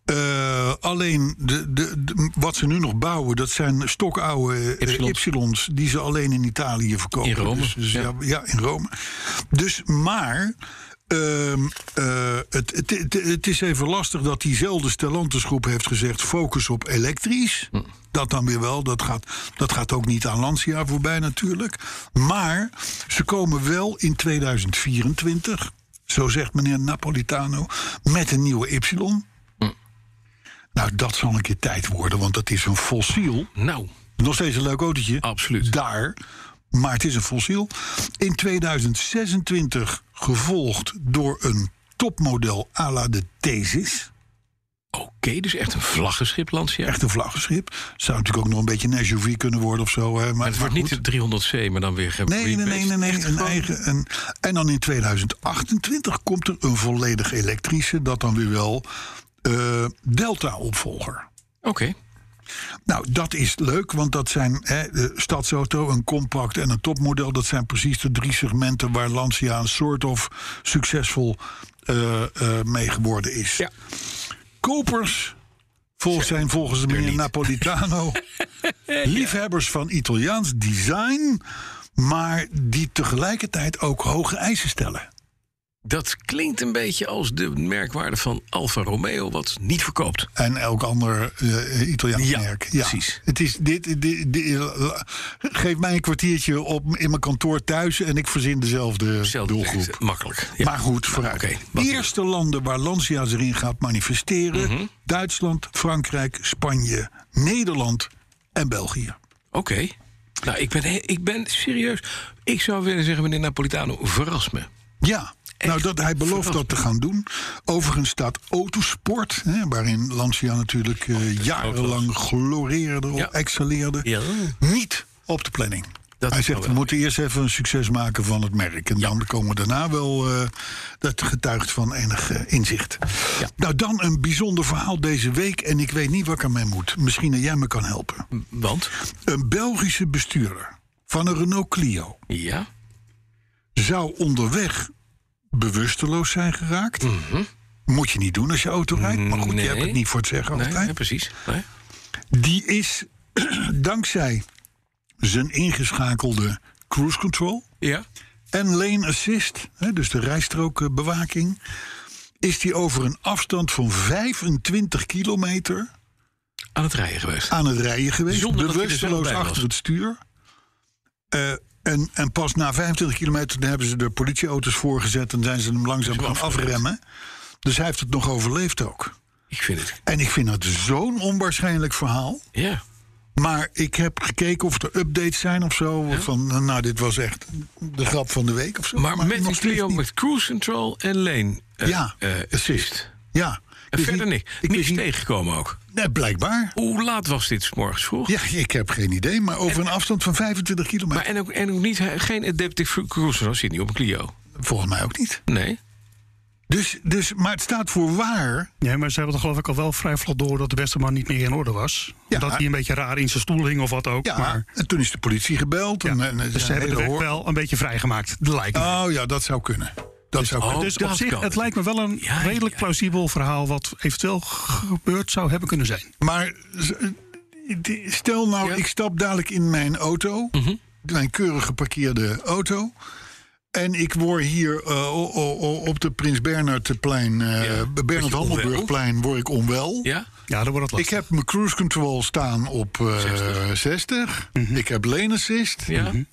Eh, alleen de, de, de- wat ze nu nog bouwen, dat zijn stokoude eh, Ypsilons. ypsilons. die ze alleen in Italië verkopen. In Rome, Dus, dus ja. ja. ja, in Rome. Dus maar. ehm, eh, het, het, het, het is even lastig dat diezelfde Stellantis groep heeft gezegd... focus op elektrisch. Hm. Dat dan weer wel. Dat gaat, dat gaat ook niet aan Lancia voorbij natuurlijk. Maar ze komen wel in 2024... zo zegt meneer Napolitano... met een nieuwe Y. Hm. Nou, dat zal een keer tijd worden, want dat is een fossiel. Nou, Nog steeds een leuk autootje. Absoluut. Daar. Maar het is een fossiel. In 2026 gevolgd door een topmodel à la de Thesis. oké, dus echt een vlaggenschip Lancia. Echt een vlaggenschip. Zou natuurlijk ook nog een beetje een SUV kunnen worden of zo. Hè? Maar, Maar het wordt niet de 300C, maar dan weer ge- Nee, nee, nee, nee. rebased. nee. Echt Een gewoon- eigen, een, en dan in 2028 komt er een volledig elektrische. Dat dan weer wel eh, Delta-opvolger. Oké. Nou, dat is leuk, want dat zijn hè, de stadsauto, een compact en een topmodel. Dat zijn precies de drie segmenten waar Lancia een soort of succesvol eh, eh, mee geworden is. Ja. Kopers vol zijn volgens de meneer Napolitano liefhebbers van Italiaans design, maar die tegelijkertijd ook hoge eisen stellen. Dat klinkt een beetje als de merkwaarde van Alfa Romeo, wat niet verkoopt. En elk ander eh, Italiaans Ja, merk. precies. Het is dit, dit- dit- la- geef mij een kwartiertje op, in mijn kantoor thuis en ik verzin dezelfde Zelfde doelgroep. Makkelijk. Ja. Maar goed, vooruit. oké, de wat- eerste landen waar Lancia zich in gaat manifesteren: Mhm. Duitsland, Frankrijk, Spanje, Nederland en België. Oké. Nou, ik ben, he- ik ben serieus. Ik zou willen zeggen, meneer Napolitano, verras me. Ja. Nou, Echt dat, hij belooft dat te gaan doen. Overigens staat Autosport, hè, waarin Lancia natuurlijk eh, jarenlang gloreerde of Ja. excelleerde, Ja. niet op de planning. Dat hij is wel zegt, we wel moeten eerst even een succes maken van het merk. En dan komen we daarna wel, eh, dat getuigt van enig eh, inzicht. Nou, dan een bijzonder verhaal deze week. En ik weet niet wat ik ermee moet. Misschien dat jij me kan helpen. Hm. Want? Een Belgische bestuurder van een Renault Clio Ja. zou onderweg bewusteloos zijn geraakt. Moet je niet doen als je auto rijdt. Maar goed, je hebt Mhm. Nee. het niet voor het zeggen Nee, altijd. ja, precies. Nee. Die is dankzij zijn ingeschakelde cruise control Ja. en lane assist, hè, dus de rijstrookbewaking, is die over een afstand van 25 kilometer Aan het rijden geweest. aan het rijden geweest. Zonder dat hij er zelf bewusteloos bij was. achter het stuur. Eh, en, en pas na 25 kilometer dan hebben ze de politieauto's voorgezet en zijn ze hem langzaam gaan afremmen. Dus hij heeft het nog overleefd ook. Ik vind het. En ik vind dat zo'n onwaarschijnlijk verhaal. Ja. Maar ik heb gekeken of er updates zijn of zo. Van, nou, dit was echt de grap van de week of zo. Maar, met nog een steeds Clio niet. met cruise control en lane eh, Ja, eh, assist. Ja. En Dus verder ik- niks. Ik Niks wist niet. tegengekomen ook. Nee, blijkbaar. Hoe laat was dit 's morgens vroeg? Ja, ik heb geen idee. Maar over een afstand van 25 kilometer. Maar en ook, en ook niet, he- geen adaptive cru- cruise control zit niet op een Clio. Volgens mij ook niet. Nee. Dus, dus, maar het staat voor waar. Nee, maar ze hebben het geloof ik al wel vrij vlot door dat de beste man niet meer in orde was. Ja. Dat hij een beetje raar in zijn stoel hing of wat ook. Ja, maar en toen is de politie gebeld. en, en, en- dus ze hebben de hele weg hoor- wel een beetje vrijgemaakt. Lijkt me. Oh ja, dat zou kunnen. Dat zou oh, kunnen. dus op dat zich, kan. het lijkt me wel een Ja, redelijk ja. plausibel verhaal wat eventueel gebeurd zou hebben kunnen zijn. Maar z- eh, die- stel nou, Ja. Mhm. ik stap dadelijk in mijn auto. Mijn keurig geparkeerde auto. En ik word hier eh, o- o- o- op de Prins Bernhardplein, eh Ja. Word Bernhard je onwel? Handelburgplein, word ik onwel. Ja? Ja, dan wordt het Ik lastig. heb mijn cruise control staan op eh, 60. Ik heb lane assist. Mhm. Ja.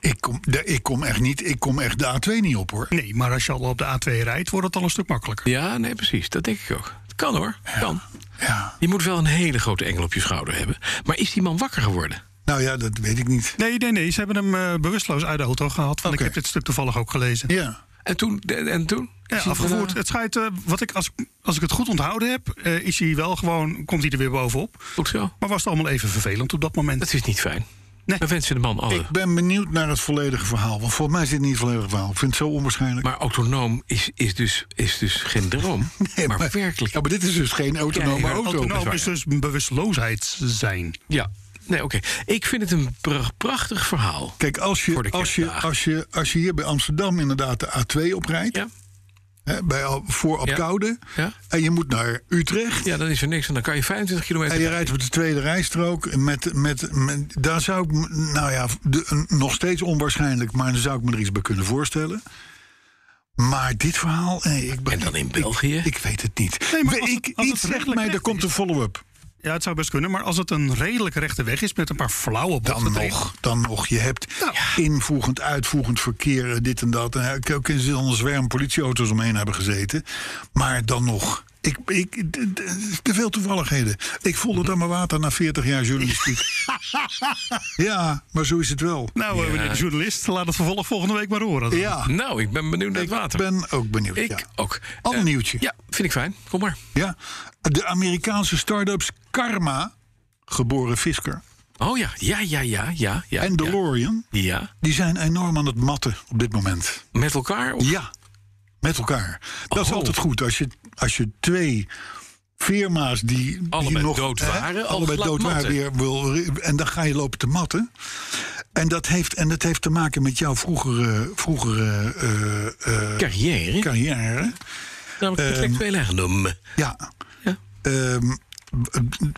Ik, kom, de- ik kom echt niet, ik kom echt de A2 niet op hoor. Nee, maar als je al op de A2 rijdt, wordt het al een stuk makkelijker. ja, nee, precies. Dat denk ik ook. Het kan hoor. Kan. Ja. Je moet wel een hele grote engel op je schouder hebben. Maar is die man wakker geworden? Nou ja, dat weet ik niet. Nee, nee, nee. Ze hebben hem eh, bewusteloos uit de auto gehaald. Want Oké. ik heb dit stuk toevallig ook gelezen. Ja. En toen? En, en toen? Ja, Is hij afgevoerd. daarna- Het schijnt, eh, wat ik, als, als ik het goed onthouden heb, eh, is hij wel gewoon, komt hij er weer bovenop. Goed zo. Maar was het allemaal even vervelend op dat moment. Dat is niet fijn. Nee. We wensen de man alle. Ik ben benieuwd naar het volledige verhaal. Want volgens mij zit het niet het volledige verhaal. Ik vind het zo onwaarschijnlijk. Maar autonoom is, is, dus, is dus geen droom, Nee, maar, werkelijk. Ja, maar dit is dus geen autonome Ja, ja, auto. autonoom. nou, is dus bewusteloosheid zijn. Ja, nee, oké. Ik vind het een pra- prachtig verhaal. Kijk, als Voor de je, als, je, kerstdagen. als, je, als je hier bij Amsterdam inderdaad de A2 oprijdt... Ja, Hè, bij, Al- voor op Ja. Koude... Ja. en je moet naar Utrecht... ja, dan is er niks en dan kan je 25 en kilometer... je rijdt op de tweede rijstrook... Met, met, met, daar zou ik, me- nou ja, de- een- nog steeds onwaarschijnlijk... maar daar zou ik me er iets bij kunnen voorstellen... Maar dit verhaal, nee, ik ben, En dan in België? Ik, ik weet het niet. Nee, maar We- als het- ik, als het iets zegt rechtelijk mij, er recht komt is. een follow-up. Ja, het zou best kunnen. Maar als het een redelijk rechte weg is met een paar flauwe Dan bochten tegen- nog, dan nog. Je hebt Nou. invoegend, uitvoegend verkeer, eh, dit en dat. En ik ook in een zwerm politieauto's omheen hebben gezeten. Maar dan nog. Ik, ik, d- d- te veel toevalligheden. Ik voel het aan mijn water na 40 jaar journalistiek. ja, maar zo is het wel. Nou, eh, meneer de journalist, laat het vervolg volgende week maar horen. dan. Ja, Nou, ik ben benieuwd naar het ik water. ben ook benieuwd. Ik ja. ook. Ander Eh, nieuwtje. Ja, vind ik fijn. Kom maar. Ja. De Amerikaanse start-ups Karma, geboren Fisker, Oh ja, ja, ja, ja, ja. ja en DeLorean... Ja. ja. die zijn enorm aan het matten op dit moment. Met elkaar? Of... Ja, met elkaar. Dat is Oh. altijd goed. Als je, als je twee firma's die, die Allebei nog dood waren, als allebei laat dood waren matten. weer wil en dan ga je lopen te matten. En dat heeft en dat heeft te maken met jouw vroegere, vroegere eh, eh, ehm, Carrière, carrière. namelijk intellectueel eigendom. Ja. Ja. Ehm,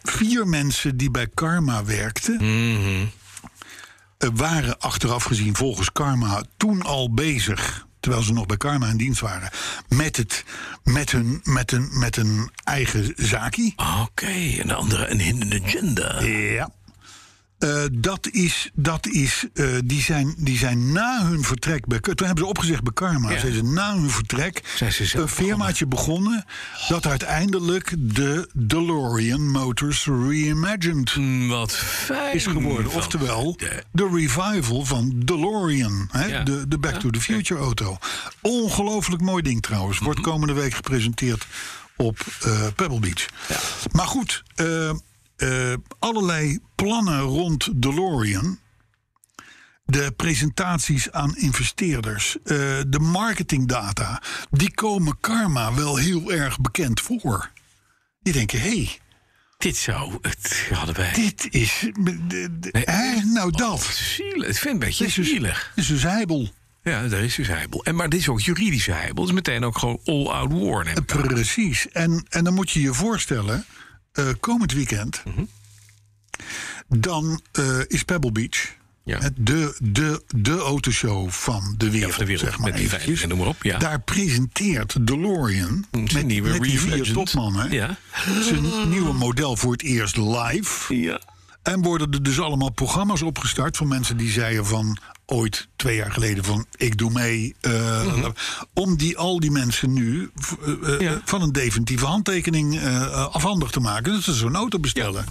vier mensen die bij Karma werkten. eh, waren achteraf gezien volgens Karma toen al bezig. Terwijl ze nog bij Karma in dienst waren. Met, het, met, hun, met, een, met een eigen zaakie. Ah, Oké, en de andere een hidden agenda. Ja. Eh, dat is, dat is eh, die, zijn, die zijn na hun vertrek bij. Toen hebben ze opgezegd bij Karma. Ja. Zijn ze na hun vertrek Zijn ze zelf een firmaatje begonnen. dat uiteindelijk de DeLorean Motors Reimagined Mm, Wat fijn. is geworden. van- Oftewel, Ja. de revival van DeLorean. Hè? Ja. De, de Back to the Future auto. Ongelooflijk mooi ding trouwens. Mhm. Wordt komende week gepresenteerd op eh, Pebble Beach. Maar goed, eh, eh, allerlei plannen rond DeLorean. De presentaties aan investeerders, eh, de marketingdata, die komen Karma wel heel erg bekend voor. Die denken, hé, hey, Dit zou, het hadden wij. dit is. hè, nou, dat. Zielig. Ik vind het een beetje Dit is dus- zielig. dit is dus heibel. Ja, daar is dus heibel. En, maar dit is ook juridische heibel. Het is meteen ook gewoon all-out war. neem ik aan. Precies. En, en dan moet je je voorstellen, eh, komend weekend, Mhm. dan eh, is Pebble Beach Ja. hè, de, de, de autoshow van de wereld. van de wereld, zeg maar met die eventjes. veiling en noem maar op, ja. Daar presenteert DeLorean met, nieuwe met die vier Reimagined. topmannen Ja. zijn nieuwe model voor het eerst live. Ja. En worden er dus allemaal programma's opgestart van mensen die zeiden van ooit twee jaar geleden van ik doe mee. eh, Om die, al die mensen nu v- eh, eh, Mhm. Ja. van een definitieve handtekening eh, afhandig te maken. Dat ze zo'n auto bestellen.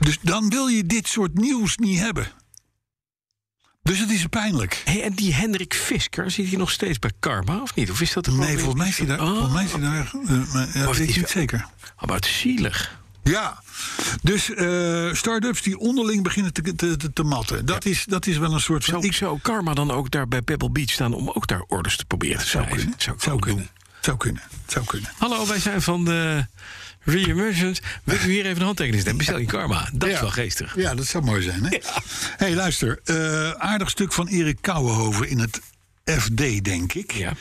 Dus dan wil je dit soort nieuws niet hebben. Dus het is pijnlijk. Hey, en die Hendrik Fisker, zit hij nog steeds bij Karma of niet? Of is dat een Nee, volgens mij is hij daar. Oh. Volgens mij is hij daar. eh, maar, ja, het weet ik is niet wel- zeker. Oh, maar het is zielig. Ja, dus eh start-ups die onderling beginnen te, te, te, te matten. Dat, is, dat is wel een soort van. Zou, ik zou Karma dan ook daar bij Pebble Beach staan om ook daar orders te proberen te zou schrijven? kunnen. Dat ik Zou ook kunnen. doen. Zou kunnen. Zou kunnen. Hallo, wij zijn van de Reemergence. Wilt u hier even een handtekening zetten? Bestel je Karma. Dat is Ja. wel geestig. Ja, dat zou mooi zijn, hè? hey, luister. eh, aardig stuk van Erik Kouwenhoven in het FD, denk ik. Ja.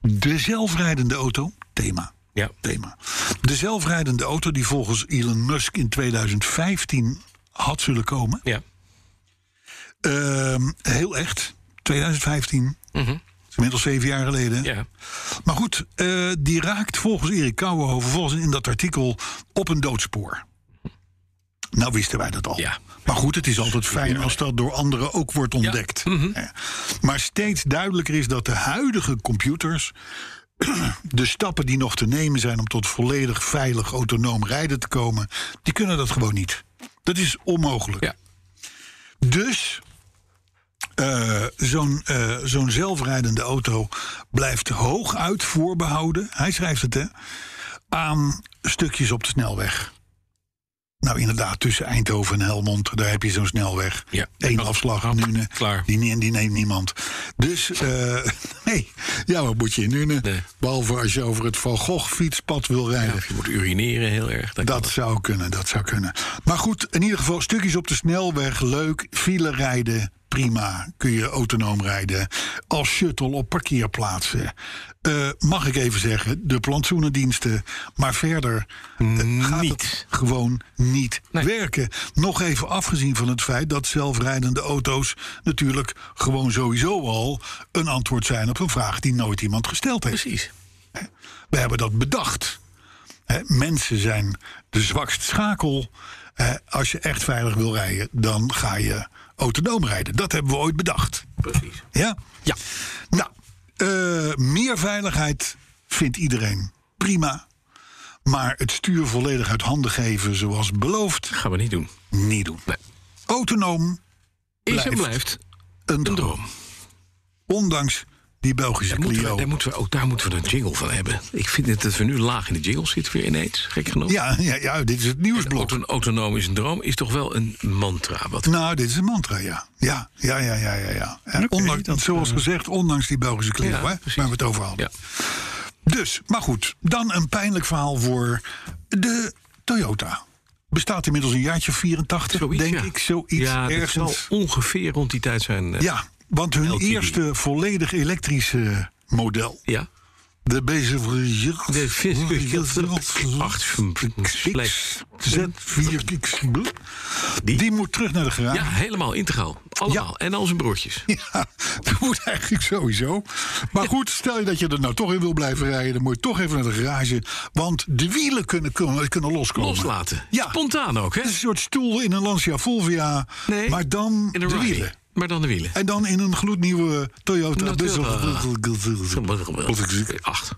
De zelfrijdende auto, thema. Ja. thema. De zelfrijdende auto die volgens Elon Musk in 2015 had zullen komen. Ja. Ehm, heel echt, 2015. Dat is Inmiddels zeven jaar geleden. ja. Maar goed, eh, die raakt volgens Erik Kouwenhoven volgens in dat artikel op een doodspoor. Nou wisten wij dat al. Ja. Maar goed, het is altijd fijn als dat door anderen ook wordt ontdekt. Mhm. Ja. Maar steeds duidelijker is dat de huidige computers de stappen die nog te nemen zijn om tot volledig veilig autonoom rijden te komen, die kunnen dat gewoon niet. Dat is onmogelijk. Ja. Dus eh, zo'n eh, zo'n zelfrijdende auto blijft hooguit voorbehouden. Hij schrijft het, hè? Aan stukjes op de snelweg. Nou, inderdaad, tussen Eindhoven en Helmond, daar heb je zo'n snelweg. Ja. Eén afslag, Hap, Nune. klaar. Die, ne- die neemt niemand. Dus, eh, nee, ja, wat moet je in Nune? Nee. Behalve als je over het Van Gogh fietspad wil rijden. Of je moet urineren heel erg. dan kan Dat zou kunnen, dat zou kunnen. Maar goed, in ieder geval stukjes op de snelweg, leuk. File rijden, prima. Kun je autonoom rijden. Als shuttle op parkeerplaatsen. Eh, mag ik even zeggen, de plantsoenendiensten. Maar verder eh, gaat het Niet. gewoon niet Nee. werken. Nog even afgezien van het feit dat zelfrijdende auto's... natuurlijk gewoon sowieso al een antwoord zijn op een vraag... die nooit iemand gesteld heeft. Precies. We hebben dat bedacht. Hè, mensen zijn de zwakst schakel. Hè, als je echt veilig wil rijden, dan ga je autonoom rijden. Dat hebben we ooit bedacht. Precies. Ja? Ja. Nou, eh, meer veiligheid vindt iedereen prima. Maar het stuur volledig uit handen geven, zoals beloofd, Gaan we niet doen. niet doen. Nee. Autonoom, Is en Blijft. blijft een een droom. droom. Ondanks die Belgische Daar moeten, we, Clio. daar, moeten we, ook daar moeten we een jingle van hebben. Ik vind het dat we nu laag in de jingle zitten weer ineens. Gek genoeg. Ja, ja, ja, dit is het nieuwsblok. Auto- autonoom is een droom is toch wel een mantra. Wat Nou, dit is een mantra, ja. Ja, ja, ja, ja, ja. ja. En ondanks, zoals gezegd, ondanks die Belgische kleur, Ja, hè, waar precies. we het over hadden. ja. Dus, maar goed, dan een pijnlijk verhaal voor de Toyota. Bestaat inmiddels een jaartje 84, Zoiets, denk ja. ik. Zoiets ja, dat zal ergens. ongeveer rond die tijd zijn. eh, Ja, want hun LTD. eerste volledig elektrische model. ja. De BZV. De BZV. Z4. Die. Die moet terug naar de garage. Ja, helemaal integraal. Allemaal. En al zijn broertjes. Ah. Ja, dat moet eigenlijk sowieso. Maar goed, stel je dat je er nou toch in wil blijven rijden... dan moet je toch even naar de garage. Want de wielen kunnen, kunnen, kunnen loskomen. Loslaten. Ja. Spontaan ook, hè? Het is een soort stoel in een Lancia Fulvia, Nee, maar dan In de rally. wielen. Maar dan de wielen. En dan in een gloednieuwe Toyota. Toyota. Acht.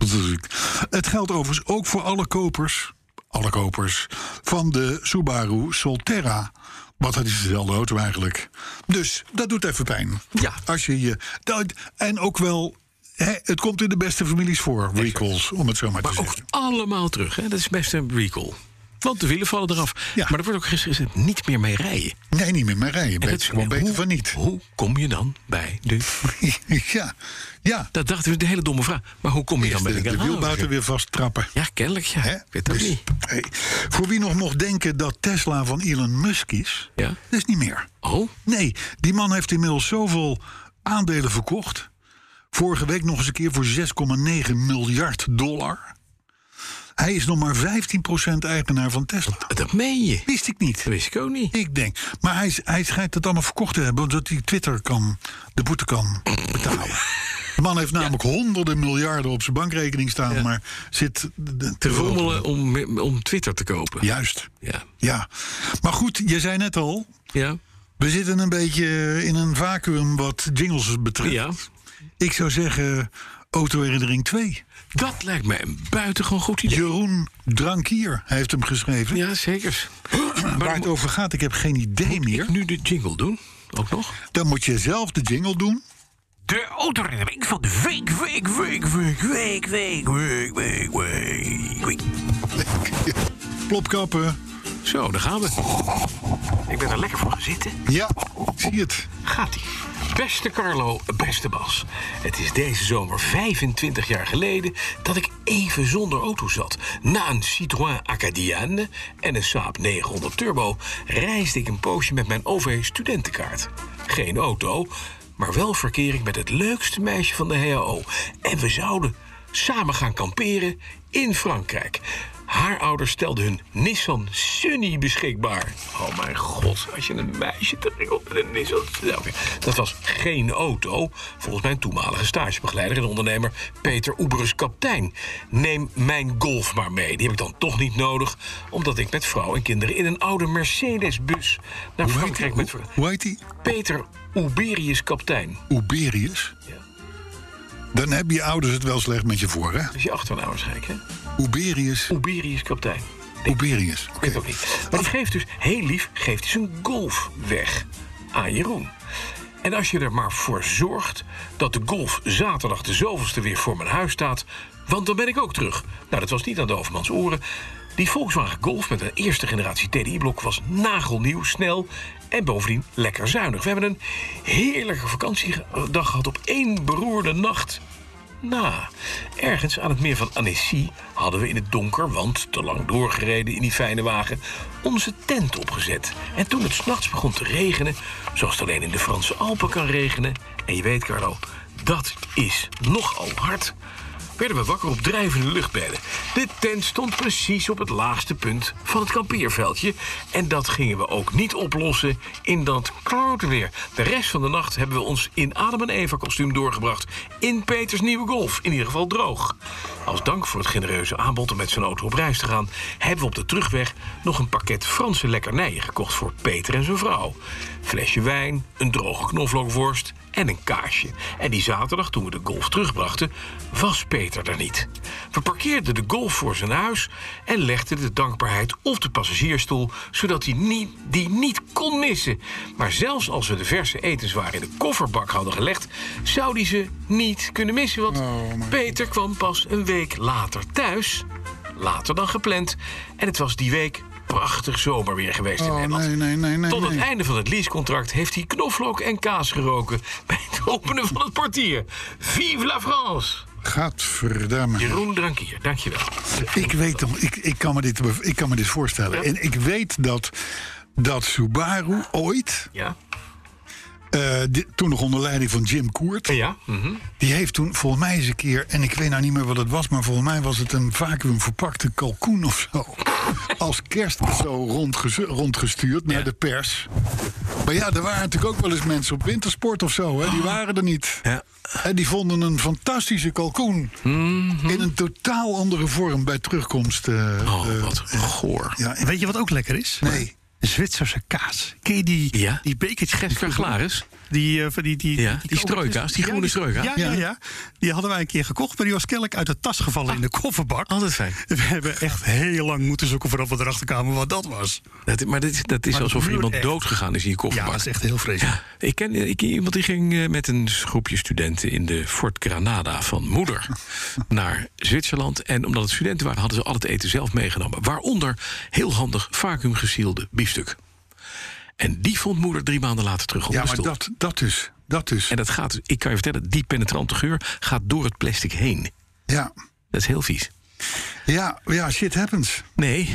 Het geldt overigens ook voor alle kopers, alle kopers van de Subaru Solterra. Want dat is dezelfde auto eigenlijk. Dus dat doet even pijn. Ja. Als je je. dat- en ook wel. Hè, het komt in de beste families voor, recalls, om het zo maar, te Maar ook zeggen. allemaal terug. Hè? Dat is best een recall. Want de wielen vallen eraf. Ja. Maar er wordt ook gezegd eh, niet meer mee rijden. Nee, niet meer mee rijden. En Beter, dat- gewoon beter hoe- van niet. Hoe kom je dan bij de... ja, ja. Dat dachten we, de hele domme vraag. Maar hoe kom je dan bij Eerst de, de Oh, de garage? wielbuiten weer vasttrappen. Ja, kennelijk, ja. Hè? Ik weet het Dus, ook niet. hey, Voor wie nog mocht denken dat Tesla van Elon Musk is, Ja. dat is niet meer. Oh, Nee, die man heeft inmiddels zoveel aandelen verkocht. Vorige week nog eens een keer voor 6,9 miljard dollar. Hij is nog maar 15% eigenaar van Tesla. dat meen je. Wist ik niet. Dat wist ik ook niet. Ik denk. Maar hij, is- hij schijnt het allemaal verkocht te hebben... zodat hij Twitter kan, de boete kan betalen. De man heeft namelijk honderden miljarden op zijn bankrekening staan... maar zit te, Te rommelen om, om Twitter te kopen. Juist, Ja. ja. Maar goed, je zei net al... Ja. we zitten een beetje in een vacuüm wat jingles betreft. ja. Ik zou zeggen, Autoherinnering 2. Dat lijkt mij een buitengewoon goed idee. Jeroen Drankier heeft hem geschreven. Ja, zeker. Waar het over gaat, ik heb geen idee meer. Nu de jingle doen, ook nog. Dan moet je zelf de jingle doen. De autoherinnering van de week, week, week, week, week, week, week, week, week, week. Plopkappen. Zo, daar gaan we. Ik ben er lekker voor gaan zitten. Ja, ik zie het. Gaat-ie. Beste Carlo, beste Bas. Het is deze zomer 25 jaar geleden dat ik even zonder auto zat. Na een Citroën Acadiane en een Saab 900 Turbo reisde ik een poosje met mijn OV-studentenkaart. Geen auto, maar wel verkering met het leukste meisje van de HAO. En we zouden samen gaan kamperen in Frankrijk. Haar ouders stelden hun Nissan Sunny beschikbaar. Oh mijn god, als je een meisje tegenkomt met een Nissan Sunny. Nou, Oké, Dat was geen auto, volgens mijn toenmalige stagebegeleider en ondernemer Peter Oeberus Kaptein. Neem mijn Golf maar mee, die heb ik dan toch niet nodig... omdat ik met vrouw en kinderen in een oude Mercedes-bus naar Hoe heet, Frankrijk hoe, met... ver- hoe heet die? Peter Uberius Kaptein. Uberius. Ja. Dan hebben je ouders het wel slecht met je voor, hè? Dat is je achternaam waarschijnlijk, hè? Uberius. Uberius Kaptein. Uberius. Oké. Ik weet het ook niet. Maar die geeft dus, heel lief, geeft hij zijn golf weg aan Jeroen. En als je er maar voor zorgt dat de golf zaterdag de zoveelste weer voor mijn huis staat... want dan ben ik ook terug. Nou, dat was niet aan de overmans oren. Die Volkswagen Golf met een eerste generatie TDI-blok was nagelnieuw, snel en bovendien lekker zuinig. We hebben een heerlijke vakantiedag gehad op één beroerde nacht. Na. Ergens aan het meer van Annecy hadden we in het donker, want te lang doorgereden in die fijne wagen, onze tent opgezet. En toen het s'nachts begon te regenen, zoals het alleen in de Franse Alpen kan regenen, en je weet Carlo, dat is nogal hard, werden we wakker op drijvende luchtbedden. De tent stond precies op het laagste punt van het kampeerveldje. En dat gingen we ook niet oplossen in dat klote weer. De rest van de nacht hebben we ons in Adam en Eva kostuum doorgebracht. In Peters nieuwe golf, in ieder geval droog. Als dank voor het genereuze aanbod om met zijn auto op reis te gaan... hebben we op de terugweg nog een pakket Franse lekkernijen gekocht... voor Peter en zijn vrouw. Flesje wijn, een droge knoflookworst en een kaasje. En die zaterdag, toen we de golf terugbrachten, was Peter er niet. We parkeerden de golf voor zijn huis en legden de dankbaarheid op de passagiersstoel, zodat hij niet, die niet kon missen. Maar zelfs als we de verse etenswaren in de kofferbak hadden gelegd, zou hij ze niet kunnen missen. Want Peter kwam pas een week later thuis, later dan gepland. En het was die week prachtig zomerweer geweest in Oh, Nederland. nee, nee, nee, nee, Tot het nee. einde van het leasecontract heeft hij knoflook en kaas geroken bij het openen van het portier. Vive la France! Gaat verdamme. Jeroen Drankier, dankjewel. Ik weet hem, ik, ik, kan me dit, bev- ik kan me dit voorstellen. En ik weet dat, dat Subaru ooit, Ja? eh, di- toen nog onder leiding van Jim Koert, Ja? mhm. die heeft toen volgens mij eens een keer, en ik weet nou niet meer wat het was, maar volgens mij was het een vacuüm verpakte kalkoen of zo. Als kerst zo rondgez- rondgestuurd naar de pers. Maar ja, er waren natuurlijk ook wel eens mensen op wintersport of zo, hè? die waren er niet. Ah. Ja. En die vonden een fantastische kalkoen. In een totaal andere vorm bij terugkomst. eh, Mhm. Oh, eh, wat goor. Ja, en- Weet je wat ook lekker is? nee. Zwitserse kaas. Ken je die, Ja? die bekertjes? Gert van Glaris? Die, eh, van die, die, Ja, die strooikaas, die groene strooikaas. Ja, ja, ja. Die hadden wij een keer gekocht, maar die was kennelijk uit de tas gevallen Ah. in de kofferbak. Altijd fijn. We hebben echt heel lang moeten zoeken voordat we erachter kwamen wat dat was. Dat, maar dat is, dat is Maar alsof er duurt iemand echt. doodgegaan is in je Ja, kofferbak. dat is echt heel vreselijk. Ik ken, ik ken iemand die ging eh, met een groepje studenten in de Fort Granada van moeder naar Zwitserland. En omdat het studenten waren, hadden ze al het eten zelf meegenomen. Waaronder heel handig vacuümgesielde biefstuk. En die vond moeder drie maanden later terug op ja de maar stoel. dat, dat dus. Dat dus. En dat gaat, dus- ik kan je vertellen, die penetrante geur gaat door het plastic heen. Ja. Dat is heel vies. Ja, ja, shit happens. Nee,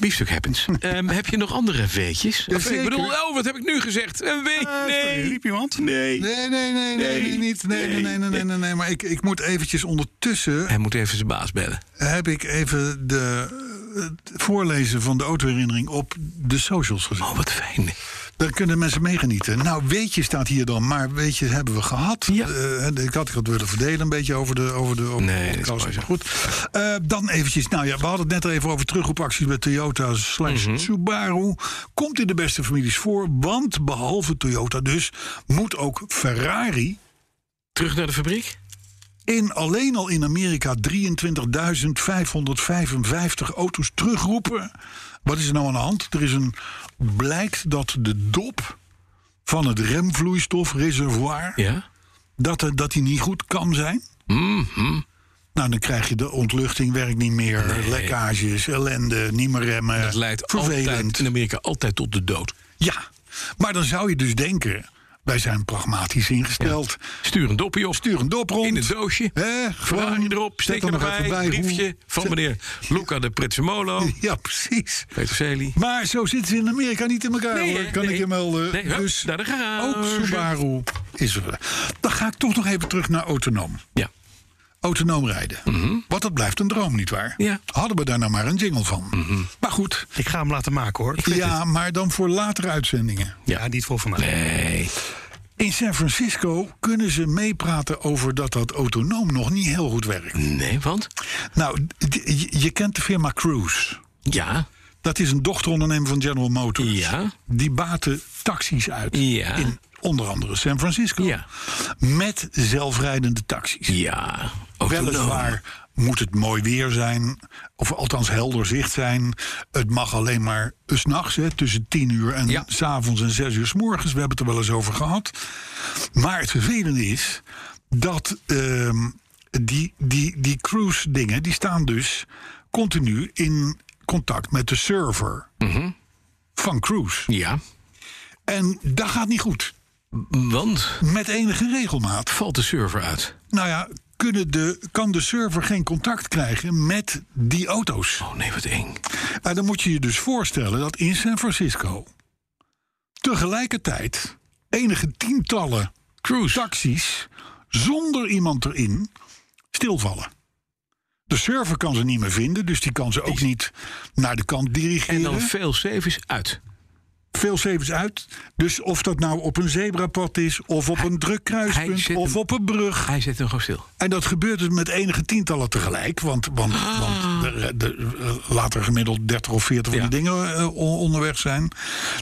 biefstuk happens. Ehm, heb je nog andere weetjes? Of, ik zeker. Ah, bedoel, oh, wat heb ik nu gezegd? Een weet, Sorry, nee. riep iemand? Nee. Nee, nee, nee, nee, nee, niet. Nee, nee, nee, nee, nee, nee, nee. Maar ik, ik moet eventjes ondertussen... Hij moet even zijn baas bellen. heb ik even de, eh, het voorlezen van de autoherinnering op de socials gezet. Oh, wat fijn. Daar kunnen mensen mee genieten. Nou, weetje staat hier dan, maar weetje hebben we gehad. Ja. Eh, ik had het willen verdelen een beetje over de, over de over Nee, de dat is podcast. mooi zo. Maar goed. Eh, dan eventjes, nou ja, we hadden het net al even over terugroepacties bij Toyota slash Mhm. Subaru. Komt in de beste families voor, want behalve Toyota dus, moet ook Ferrari Terug naar de fabriek? in alleen al in Amerika 23.555 auto's terugroepen. Wat is er nou aan de hand? Er is een blijkt dat de dop van het remvloeistofreservoir Ja. dat, er- dat die niet goed kan zijn. Mhm. Nou, dan krijg je de ontluchting werkt niet meer, lekkages, ellende, niet meer remmen. Dat leidt vervelend. altijd, in Amerika altijd tot de dood. Ja, maar dan zou je dus denken, wij zijn pragmatisch ingesteld. Stuur een dopje op. Stuur een dop rond. in het doosje. Hè, Ferrari erop. zet Steek er er nog nog even bij bij. hoe- Briefje van zet- meneer Luca de Prezzemolo. Ja, precies. Peterselie. Maar zo zitten ze in Amerika niet in elkaar, Nee, hè? hoor. kan Nee. ik je melden. Nee, hup, dus naar de garage. ook Subaru is er. Dan ga ik toch nog even terug naar autonoom. Ja. Autonoom rijden. Want dat blijft een droom, nietwaar? Mhm. Ja. Mhm. Hadden we daar nou maar een jingle van. Maar goed, Ik ga hem laten maken hoor. ja, maar dan voor latere uitzendingen. Ja, niet voor vandaag. Nee. In San Francisco kunnen ze meepraten over dat dat autonoom nog niet heel goed werkt. Nee, want? Nou, d- je- je kent de firma Cruise. Ja. Dat is een dochterondernemer van General Motors. Ja. Die baten taxis uit. Ja. In onder andere San Francisco. Ja. Met zelfrijdende taxis. Ja. Oh, Autonoom. Weliswaar moet het mooi weer zijn. Of althans helder zicht zijn. Het mag alleen maar s'nachts tussen 10 uur en Ja. s avonds en 6 uur s morgens. We hebben het er wel eens over gehad. Maar het vervelende is dat ehm, die, die, die cruise dingen... die staan dus continu in contact met de server van cruise. Ja. En dat gaat niet goed. Want? Met enige regelmaat. Valt de server uit? Nou ja, kunnen de, kan de server geen contact krijgen met die auto's? Oh nee, wat eng. Maar dan moet je je dus voorstellen dat in San Francisco tegelijkertijd enige tientallen Cruise. taxis zonder iemand erin stilvallen. De server kan ze niet meer vinden, dus die kan ze ook niet naar de kant dirigeren. En dan veel service uit. veel savers uit. Dus of dat nou op een zebrapad is, of op een druk hij kruispunt, zit of hem- op een brug. Hij zet hem gewoon stil. En dat gebeurt dus met enige tientallen tegelijk. Want, want, Ah. want de, de, eh, later gemiddeld 30 of 40 van Ja. die dingen eh, on- onderweg zijn.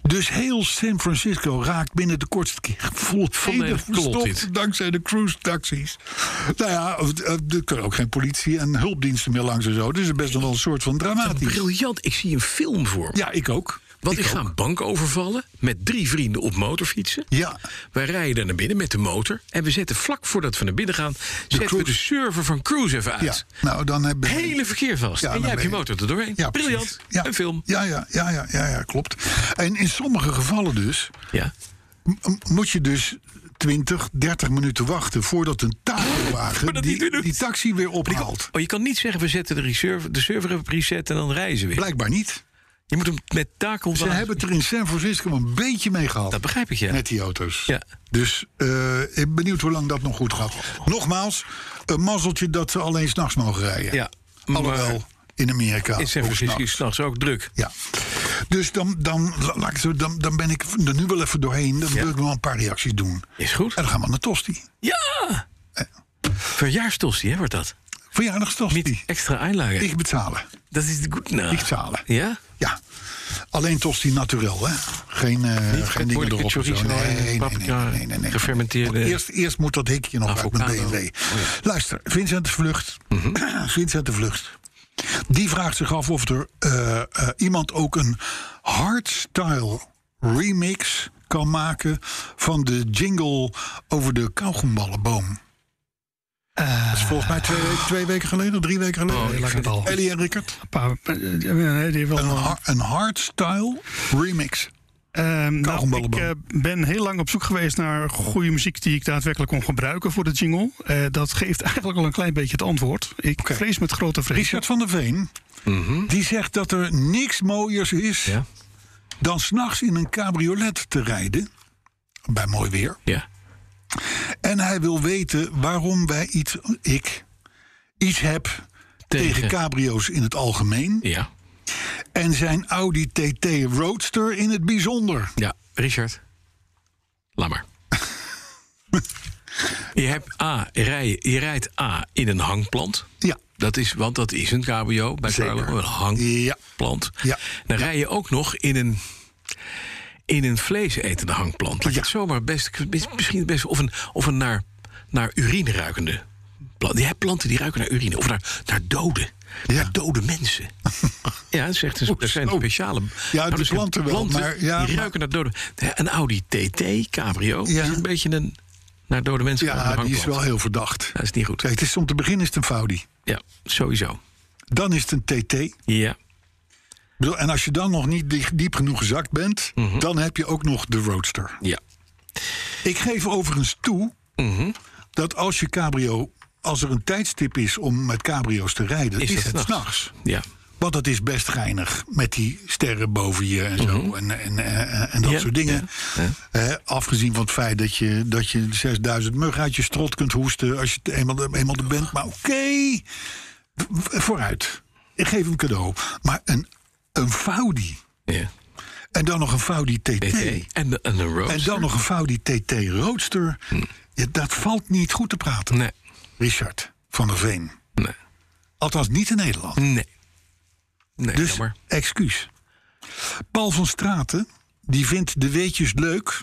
Dus heel San Francisco raakt binnen de kortste keer volledig Volledig klopt verstopt. dit. Dankzij de cruise taxis. Nou ja, eh, eh, er kunnen ook geen politie en hulpdiensten meer langs en zo. Dus het is best nog wel een soort van dramatisch. Briljant, ik zie een film voor me. Ja, ik ook. Want ik, ga een bank overvallen met drie vrienden op motorfietsen. Ja. Wij rijden daar naar binnen met de motor. En we zetten vlak voordat we naar binnen gaan... zetten we de cruise. server van Cruise even Ja, uit. nou dan hebben we- Hele verkeer vast. Ja, en jij dan hebt je ben je- motor er doorheen. precies. Briljant. Ja. Een film. Ja, ja, ja, ja, ja, ja, klopt. En in sommige gevallen dus Ja. m- moet je dus 20, 30 minuten wachten voordat een dat takelwagen niet meer die, doet. die taxi weer ophaalt. Oh, je kan niet zeggen, we zetten de, reserve, de server even reset en dan reizen we weer. Blijkbaar niet. Je moet hem met takel... Ze hebben het er in San Francisco een beetje mee gehad. Dat begrijp ik, ja. Met die auto's. Ja. Dus eh, ik ben benieuwd hoe lang dat nog goed gaat. Nogmaals, een mazzeltje dat ze alleen s'nachts mogen rijden. Ja, Alhoewel, in Amerika. in San ook Francisco is s'nachts. s'nachts ook druk. Ja. Dus dan, dan, la- laat ik het zo, dan, dan ben ik er nu wel even doorheen. Dan Ja. wil ik nog een paar reacties doen. Is goed. En dan gaan we naar Tosti. Ja! Verjaarsdossie, hè, wordt dat? Niet Verjaardagstosti. extra einlagen. Ik betalen. dat is de goed Nou, Ik betalen. Ja? Ja. Alleen tosti naturel, hè? Geen, eh geen dingen moeilijke erop. of zo. chorizo en paprika, gefermenteerde- Eerst, eerst moet dat hikje nog uit mijn Avocado. Oh, Mhm. BMW. Luister, Vincent de Vlucht. Vincent de Vlucht. Die vraagt zich af of er eh, eh, iemand ook een hardstyle remix kan maken van de jingle over de kauwgomballenboom. dat is volgens mij twee, weken- twee weken geleden, drie weken geleden. ik vind het al. Oh. Ellie en Rickert. Pa, eh, die wil Een, har- een hardstyle remix. Ehm, nou, ik Kauwgomballenboom. eh, ben heel lang op zoek geweest naar goede muziek die ik daadwerkelijk kon gebruiken voor de jingle. Eh, dat geeft eigenlijk al een klein beetje het antwoord. Ik Oké. vrees met grote vrees. Richard van der Veen, die zegt dat er niks mooiers is Mhm. Ja. dan s'nachts in een cabriolet te rijden. Bij mooi weer. Ja. En hij wil weten waarom wij iets, ik, iets heb tegen, Tegen. cabrio's in het algemeen. Ja. En zijn Audi TT Roadster in het bijzonder. Ja. Richard. Laat maar. je hebt A, rij, je rijdt A in een hangplant. Ja, Dat is, want dat is een cabrio bij Zeker. Carlo, een Ja. hangplant. Ja. Dan rij je ook nog in een, in een vleesetende hangplant. Laat ik Ja. het zomaar best, misschien het beste. Of een, of een naar, naar urine ruikende plant. Je hebt planten die ruiken naar urine. Of naar, naar doden. Ja. Naar dode mensen. ja, dat, is echt een, dat zijn zo. speciale... Nou, die dat zijn planten wel, maar- ja, die maar- ruiken naar dode... Een Audi TT, cabrio, Ja. is een beetje een naar dode mensen ruikende ja die is hangplant. wel heel verdacht. Dat is niet goed. Kijk, het is, om te beginnen is het een Faudi. Ja, sowieso. Dan is het een TT. Ja. Ik bedoel, En als je dan nog niet diep, diep genoeg gezakt bent, Mhm. dan heb je ook nog de Roadster. Ja. Ik geef overigens toe Mhm. dat als je cabrio, als er een tijdstip is om met cabrio's te rijden, is, Is dat het s'nachts? s'nachts. Ja. Want dat is best geinig met die sterren boven je en zo en, en, eh, en, en dat Mhm. Ja, soort dingen. Eh, afgezien van het feit dat je, dat je 6000 muggen uit je strot kunt hoesten als je het eenmaal, eenmaal er bent. Maar oké, v- vooruit. Ik geef hem cadeau. Maar een, een Faudi. ja. En dan nog een Faudi TT. TT. En, de- en een En Roadster. dan nog een Faudi TT Roadster. Ja, dat valt niet goed te praten. Hm. Nee. Richard van der Veen. Nee. Althans, niet in Nederland. Nee. Nee, Dus jammer. excuus. Paul van Straten, die vindt de weetjes leuk...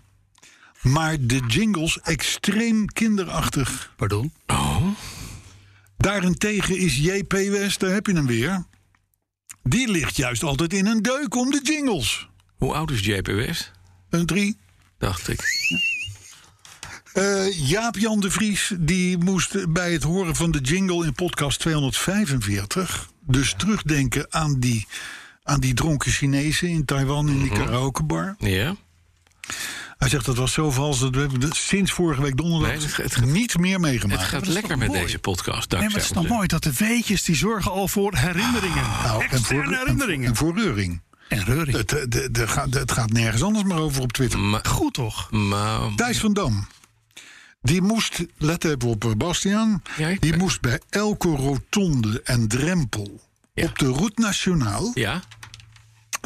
maar de jingles extreem kinderachtig. Pardon. Oh. Daarentegen is JP West, daar heb je hem weer... die ligt juist altijd in een deuk om de jingles. Hoe oud is JP West? Een drie. Dacht ik. Eh, Jaap-Jan de Vries die moest bij het horen van de jingle in podcast 245... dus terugdenken aan die, aan die dronken Chinezen in Taiwan in die Mhm. karaokebar. Ja. Hij zegt dat was zo vals dat we hebben het sinds vorige week donderdag Nee, het gaat- het gaat- niet meer meegemaakt. Het gaat Ja, dat is lekker toch met mooi? deze podcast. Nee, maar Dankzij het is nog onze- mooi dat de weetjes die zorgen al voor herinneringen. Nou, en voor, Externe en, voor- herinneringen. en voor reuring. En reuring. Het, eh, de- de ga- de- het gaat nergens anders meer over op Twitter. Maar, Goed toch? maar, Thijs van Dam. Die moest, let even op eh, Bastiaan. Ja, ik- die moest bij elke rotonde en drempel Ja. op de route nationaal ja?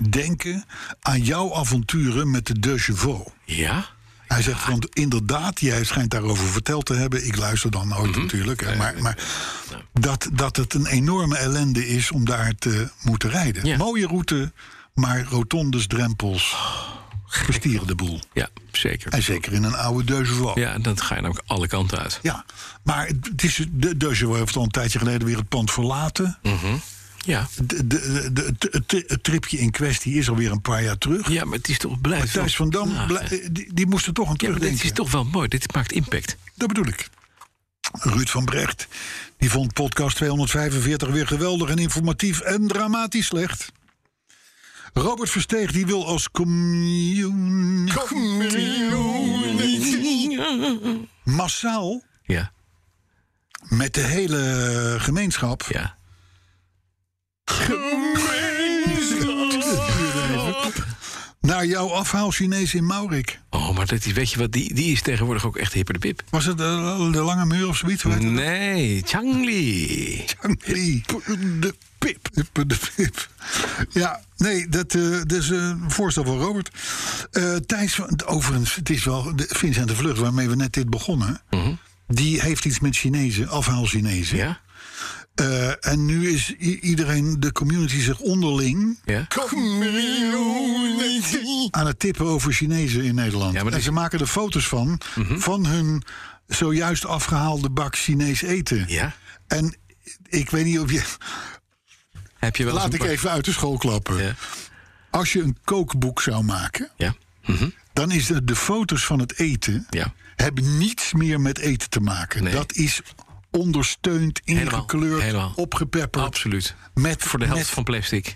denken aan jouw avonturen met de De Chevaux. Ja? Hij zegt, want inderdaad, jij schijnt daarover verteld te hebben. Ik luister dan nooit Mhm. natuurlijk. hè, Maar, maar dat, dat het een enorme ellende is om daar te moeten rijden. Ja. Mooie route, maar rotondes, drempels, Oh, verstieren de boel. Ja, zeker. En zeker in een oude Deuzeval. Ja, en dan ga je namelijk alle kanten uit. Ja, maar het is, de Deuzeval heeft al een tijdje geleden weer het pand verlaten. Hm. Ja. De, de, de- het- het- het tripje in kwestie is alweer een paar jaar terug. Ja, maar het is toch blijft. Thijs van Dam, Ja, blij- die, die moest er toch aan ja, maar terugdenken. dit is toch wel mooi. Dit maakt impact. Dat bedoel ik. Ruud van Brecht die vond podcast 245 weer geweldig en informatief en dramatisch slecht. Robert Versteeg die wil als community massaal Ja, met de hele gemeenschap. ja. Naar jouw afhaal Chinees in Maurik. Oh, maar dat is, weet je wat, die, die is tegenwoordig ook echt hipper de pip. Was het eh, de, de Lange Muur of zoiets? Weet je? Nee, Changli. Die- Mm. De pip. De pip. Ja, nee, dat, eh dat is een voorstel van Robert. Eh Thijs, van- overigens, het is wel de- Vincent de Vlucht, waarmee we net dit begonnen. Die heeft iets met Chinezen, afhaal Chinezen. Ja? Eh, en nu is i- iedereen, de community zich onderling Ja? aan het tippen over Chinezen in Nederland. Ja, maar Mhm. en dat- ze maken er foto's van, van hun zojuist afgehaalde bak Chinees eten. Ja? En ik weet niet of je. Heb je wel eens Laat een ik bak- even uit de school klappen. Ja. Als je een kookboek zou maken, Ja? dan is de, de foto's van het eten Ja. hebben niets meer met eten te maken. Nee. Dat is ondersteund, Helemaal, ingekleurd, helemaal. opgepepperd. Absoluut. Met, Voor de helft met- van plastic.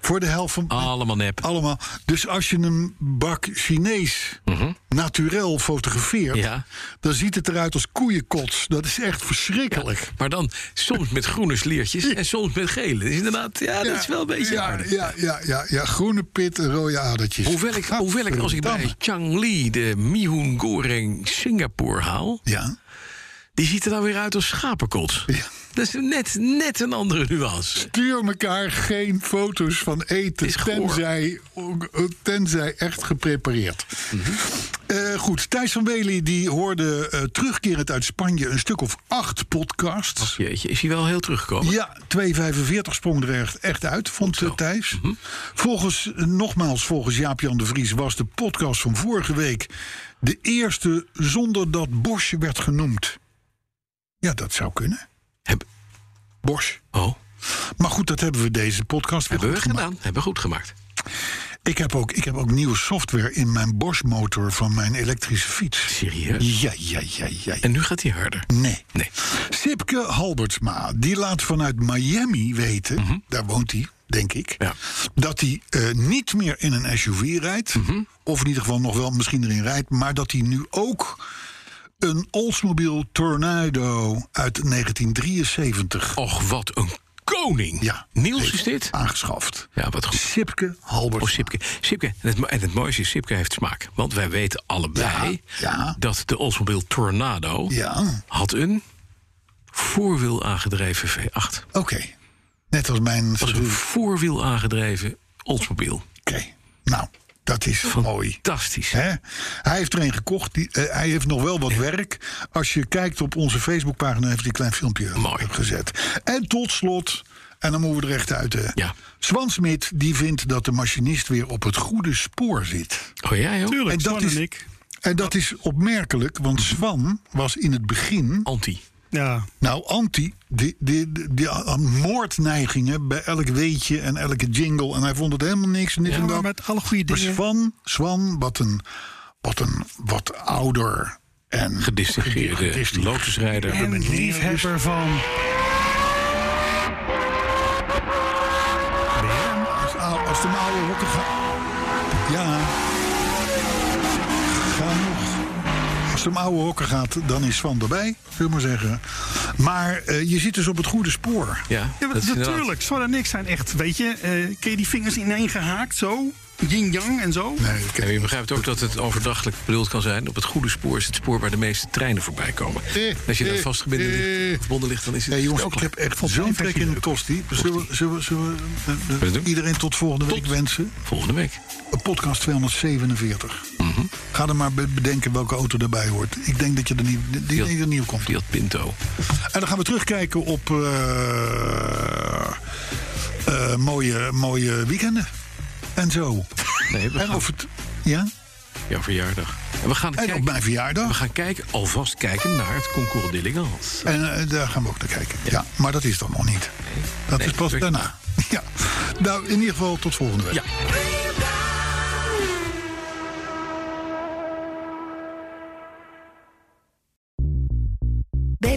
Voor de helft van. Allemaal nep. Allemaal. Dus als je een bak Chinees naturel fotografeert, Mhm. Ja. dan ziet het eruit als koeienkots. Dat is echt verschrikkelijk. Maar dan soms met groene sliertjes en soms met gele. Dat is inderdaad, ja, dat is wel een beetje ja, aardig. ja, ja, ja, ja, groene pit, rode adertjes. Hoewel ik, hoewel ik als ik bij Gadverdamme. Changli de Mihun Goreng Singapore haal... Ja. die ziet er dan weer uit als schapenkots. Ja. Dat is net, net een andere nuance. Stuur elkaar geen foto's van eten, Is goor. tenzij, tenzij echt geprepareerd. Mhm. Eh, goed, Thijs van Wely die hoorde eh, terugkerend uit Spanje een stuk of acht podcasts. Jeetje, is hij wel heel teruggekomen? Ja, 2,45 sprong er echt, echt uit, vond eh, Thijs. Mhm. Volgens, eh, nogmaals, volgens Jaap-Jan de Vries was de podcast van vorige week de eerste zonder dat Bosch werd genoemd. Ja, dat zou kunnen. Heb- Bosch. oh, Maar goed, dat hebben we deze podcast weer hebben we goed gemaakt. gedaan. Hebben we goed gemaakt. Ik heb, ook, ik heb ook nieuwe software in mijn Bosch motor van mijn elektrische fiets. Serieus. Ja, ja, ja, ja. ja. En nu gaat hij harder. Nee. Nee. Sipke Halbertsma, die laat vanuit Miami weten, daar woont hij, denk ik, Mhm. Ja. dat hij eh, niet meer in een SUV rijdt. Mhm. Of in ieder geval nog wel misschien erin rijdt, maar dat hij nu ook een Oldsmobile Tornado uit 1973 Och, wat een koning. Ja. Niels is dit? aangeschaft. Ja, wat goed. Sipke Oh, Halbertsma. Sipke. Sipke. En, het, mo- en het mooiste is, Sipke heeft smaak. Want wij weten allebei Ja, ja. dat de Oldsmobile Tornado ja, had een voorwiel aangedreven V8. oké. Net als mijn Dat was een voorwiel aangedreven Oldsmobile. Oké, nou, dat is mooi. Fantastisch. Hè? Hij heeft er een gekocht. Die, eh, hij heeft nog wel wat werk. Als je kijkt op onze Facebookpagina, heeft hij een klein filmpje Mooi. gezet. En tot slot, en dan moeten we er echt uit. Hè? Ja. Swan Smit, die vindt dat de machinist weer op het goede spoor zit. Oh, jij ook? Tuurlijk, En dat Swan is- en ik. En dat is opmerkelijk, want Swan was in het begin. Anti. Ja, Nou, anti. Die, die, die, die eh, moordneigingen bij elk weetje en elke jingle. En hij vond het helemaal niks. Niks en maar dat. met alle goede Maar dingen. Swan, Swan wat, een, wat een wat ouder en Gedistingeerde gedistingeerd lotusrijder. En liefhebber van... Als, ou- als de oude rokken gaan. Ja. Ga nog. Als de oude hokken gaat, dan is Swan erbij, zullen we maar zeggen. Maar eh, je zit dus op het goede spoor. Ja, Ja, maar dat is inderdaad- natuurlijk. Swan en ik zijn echt, weet je... eh ken je die vingers ineengehaakt, zo? Yin-yang en zo? Nee, ik En je begrijpt ook dat het overdachtelijk bedoeld kan zijn. Op het goede spoor is het spoor waar de meeste treinen voorbij komen. Eh, Als je daar eh, vastgebonden eh. ligt, verbonden ligt, dan is het Nee, jongens, ook ik klaar. heb echt zo'n trek in de tosti. Zullen we, zullen we, zullen we, eh, eh, we doen? iedereen tot volgende week wensen? Volgende week. Podcast 247. Mhm. Ga er maar be- bedenken welke auto erbij hoort. Ik denk dat je er niet, die, die, die er niet op komt. Fiat Pinto. En dan gaan we terugkijken op eh, eh, mooie, mooie weekenden. En zo. Nee, we En gaan, of het. Ja? jouw verjaardag. En we gaan, En op kijken, mijn verjaardag. we gaan kijken, alvast kijken naar het concours d'élégance. En eh, daar gaan we ook naar kijken. Ja. maar dat is dan nog niet. Dat Nee, is pas dat- daarna. Ja. Nou, in ieder geval tot volgende week. Ja. Bij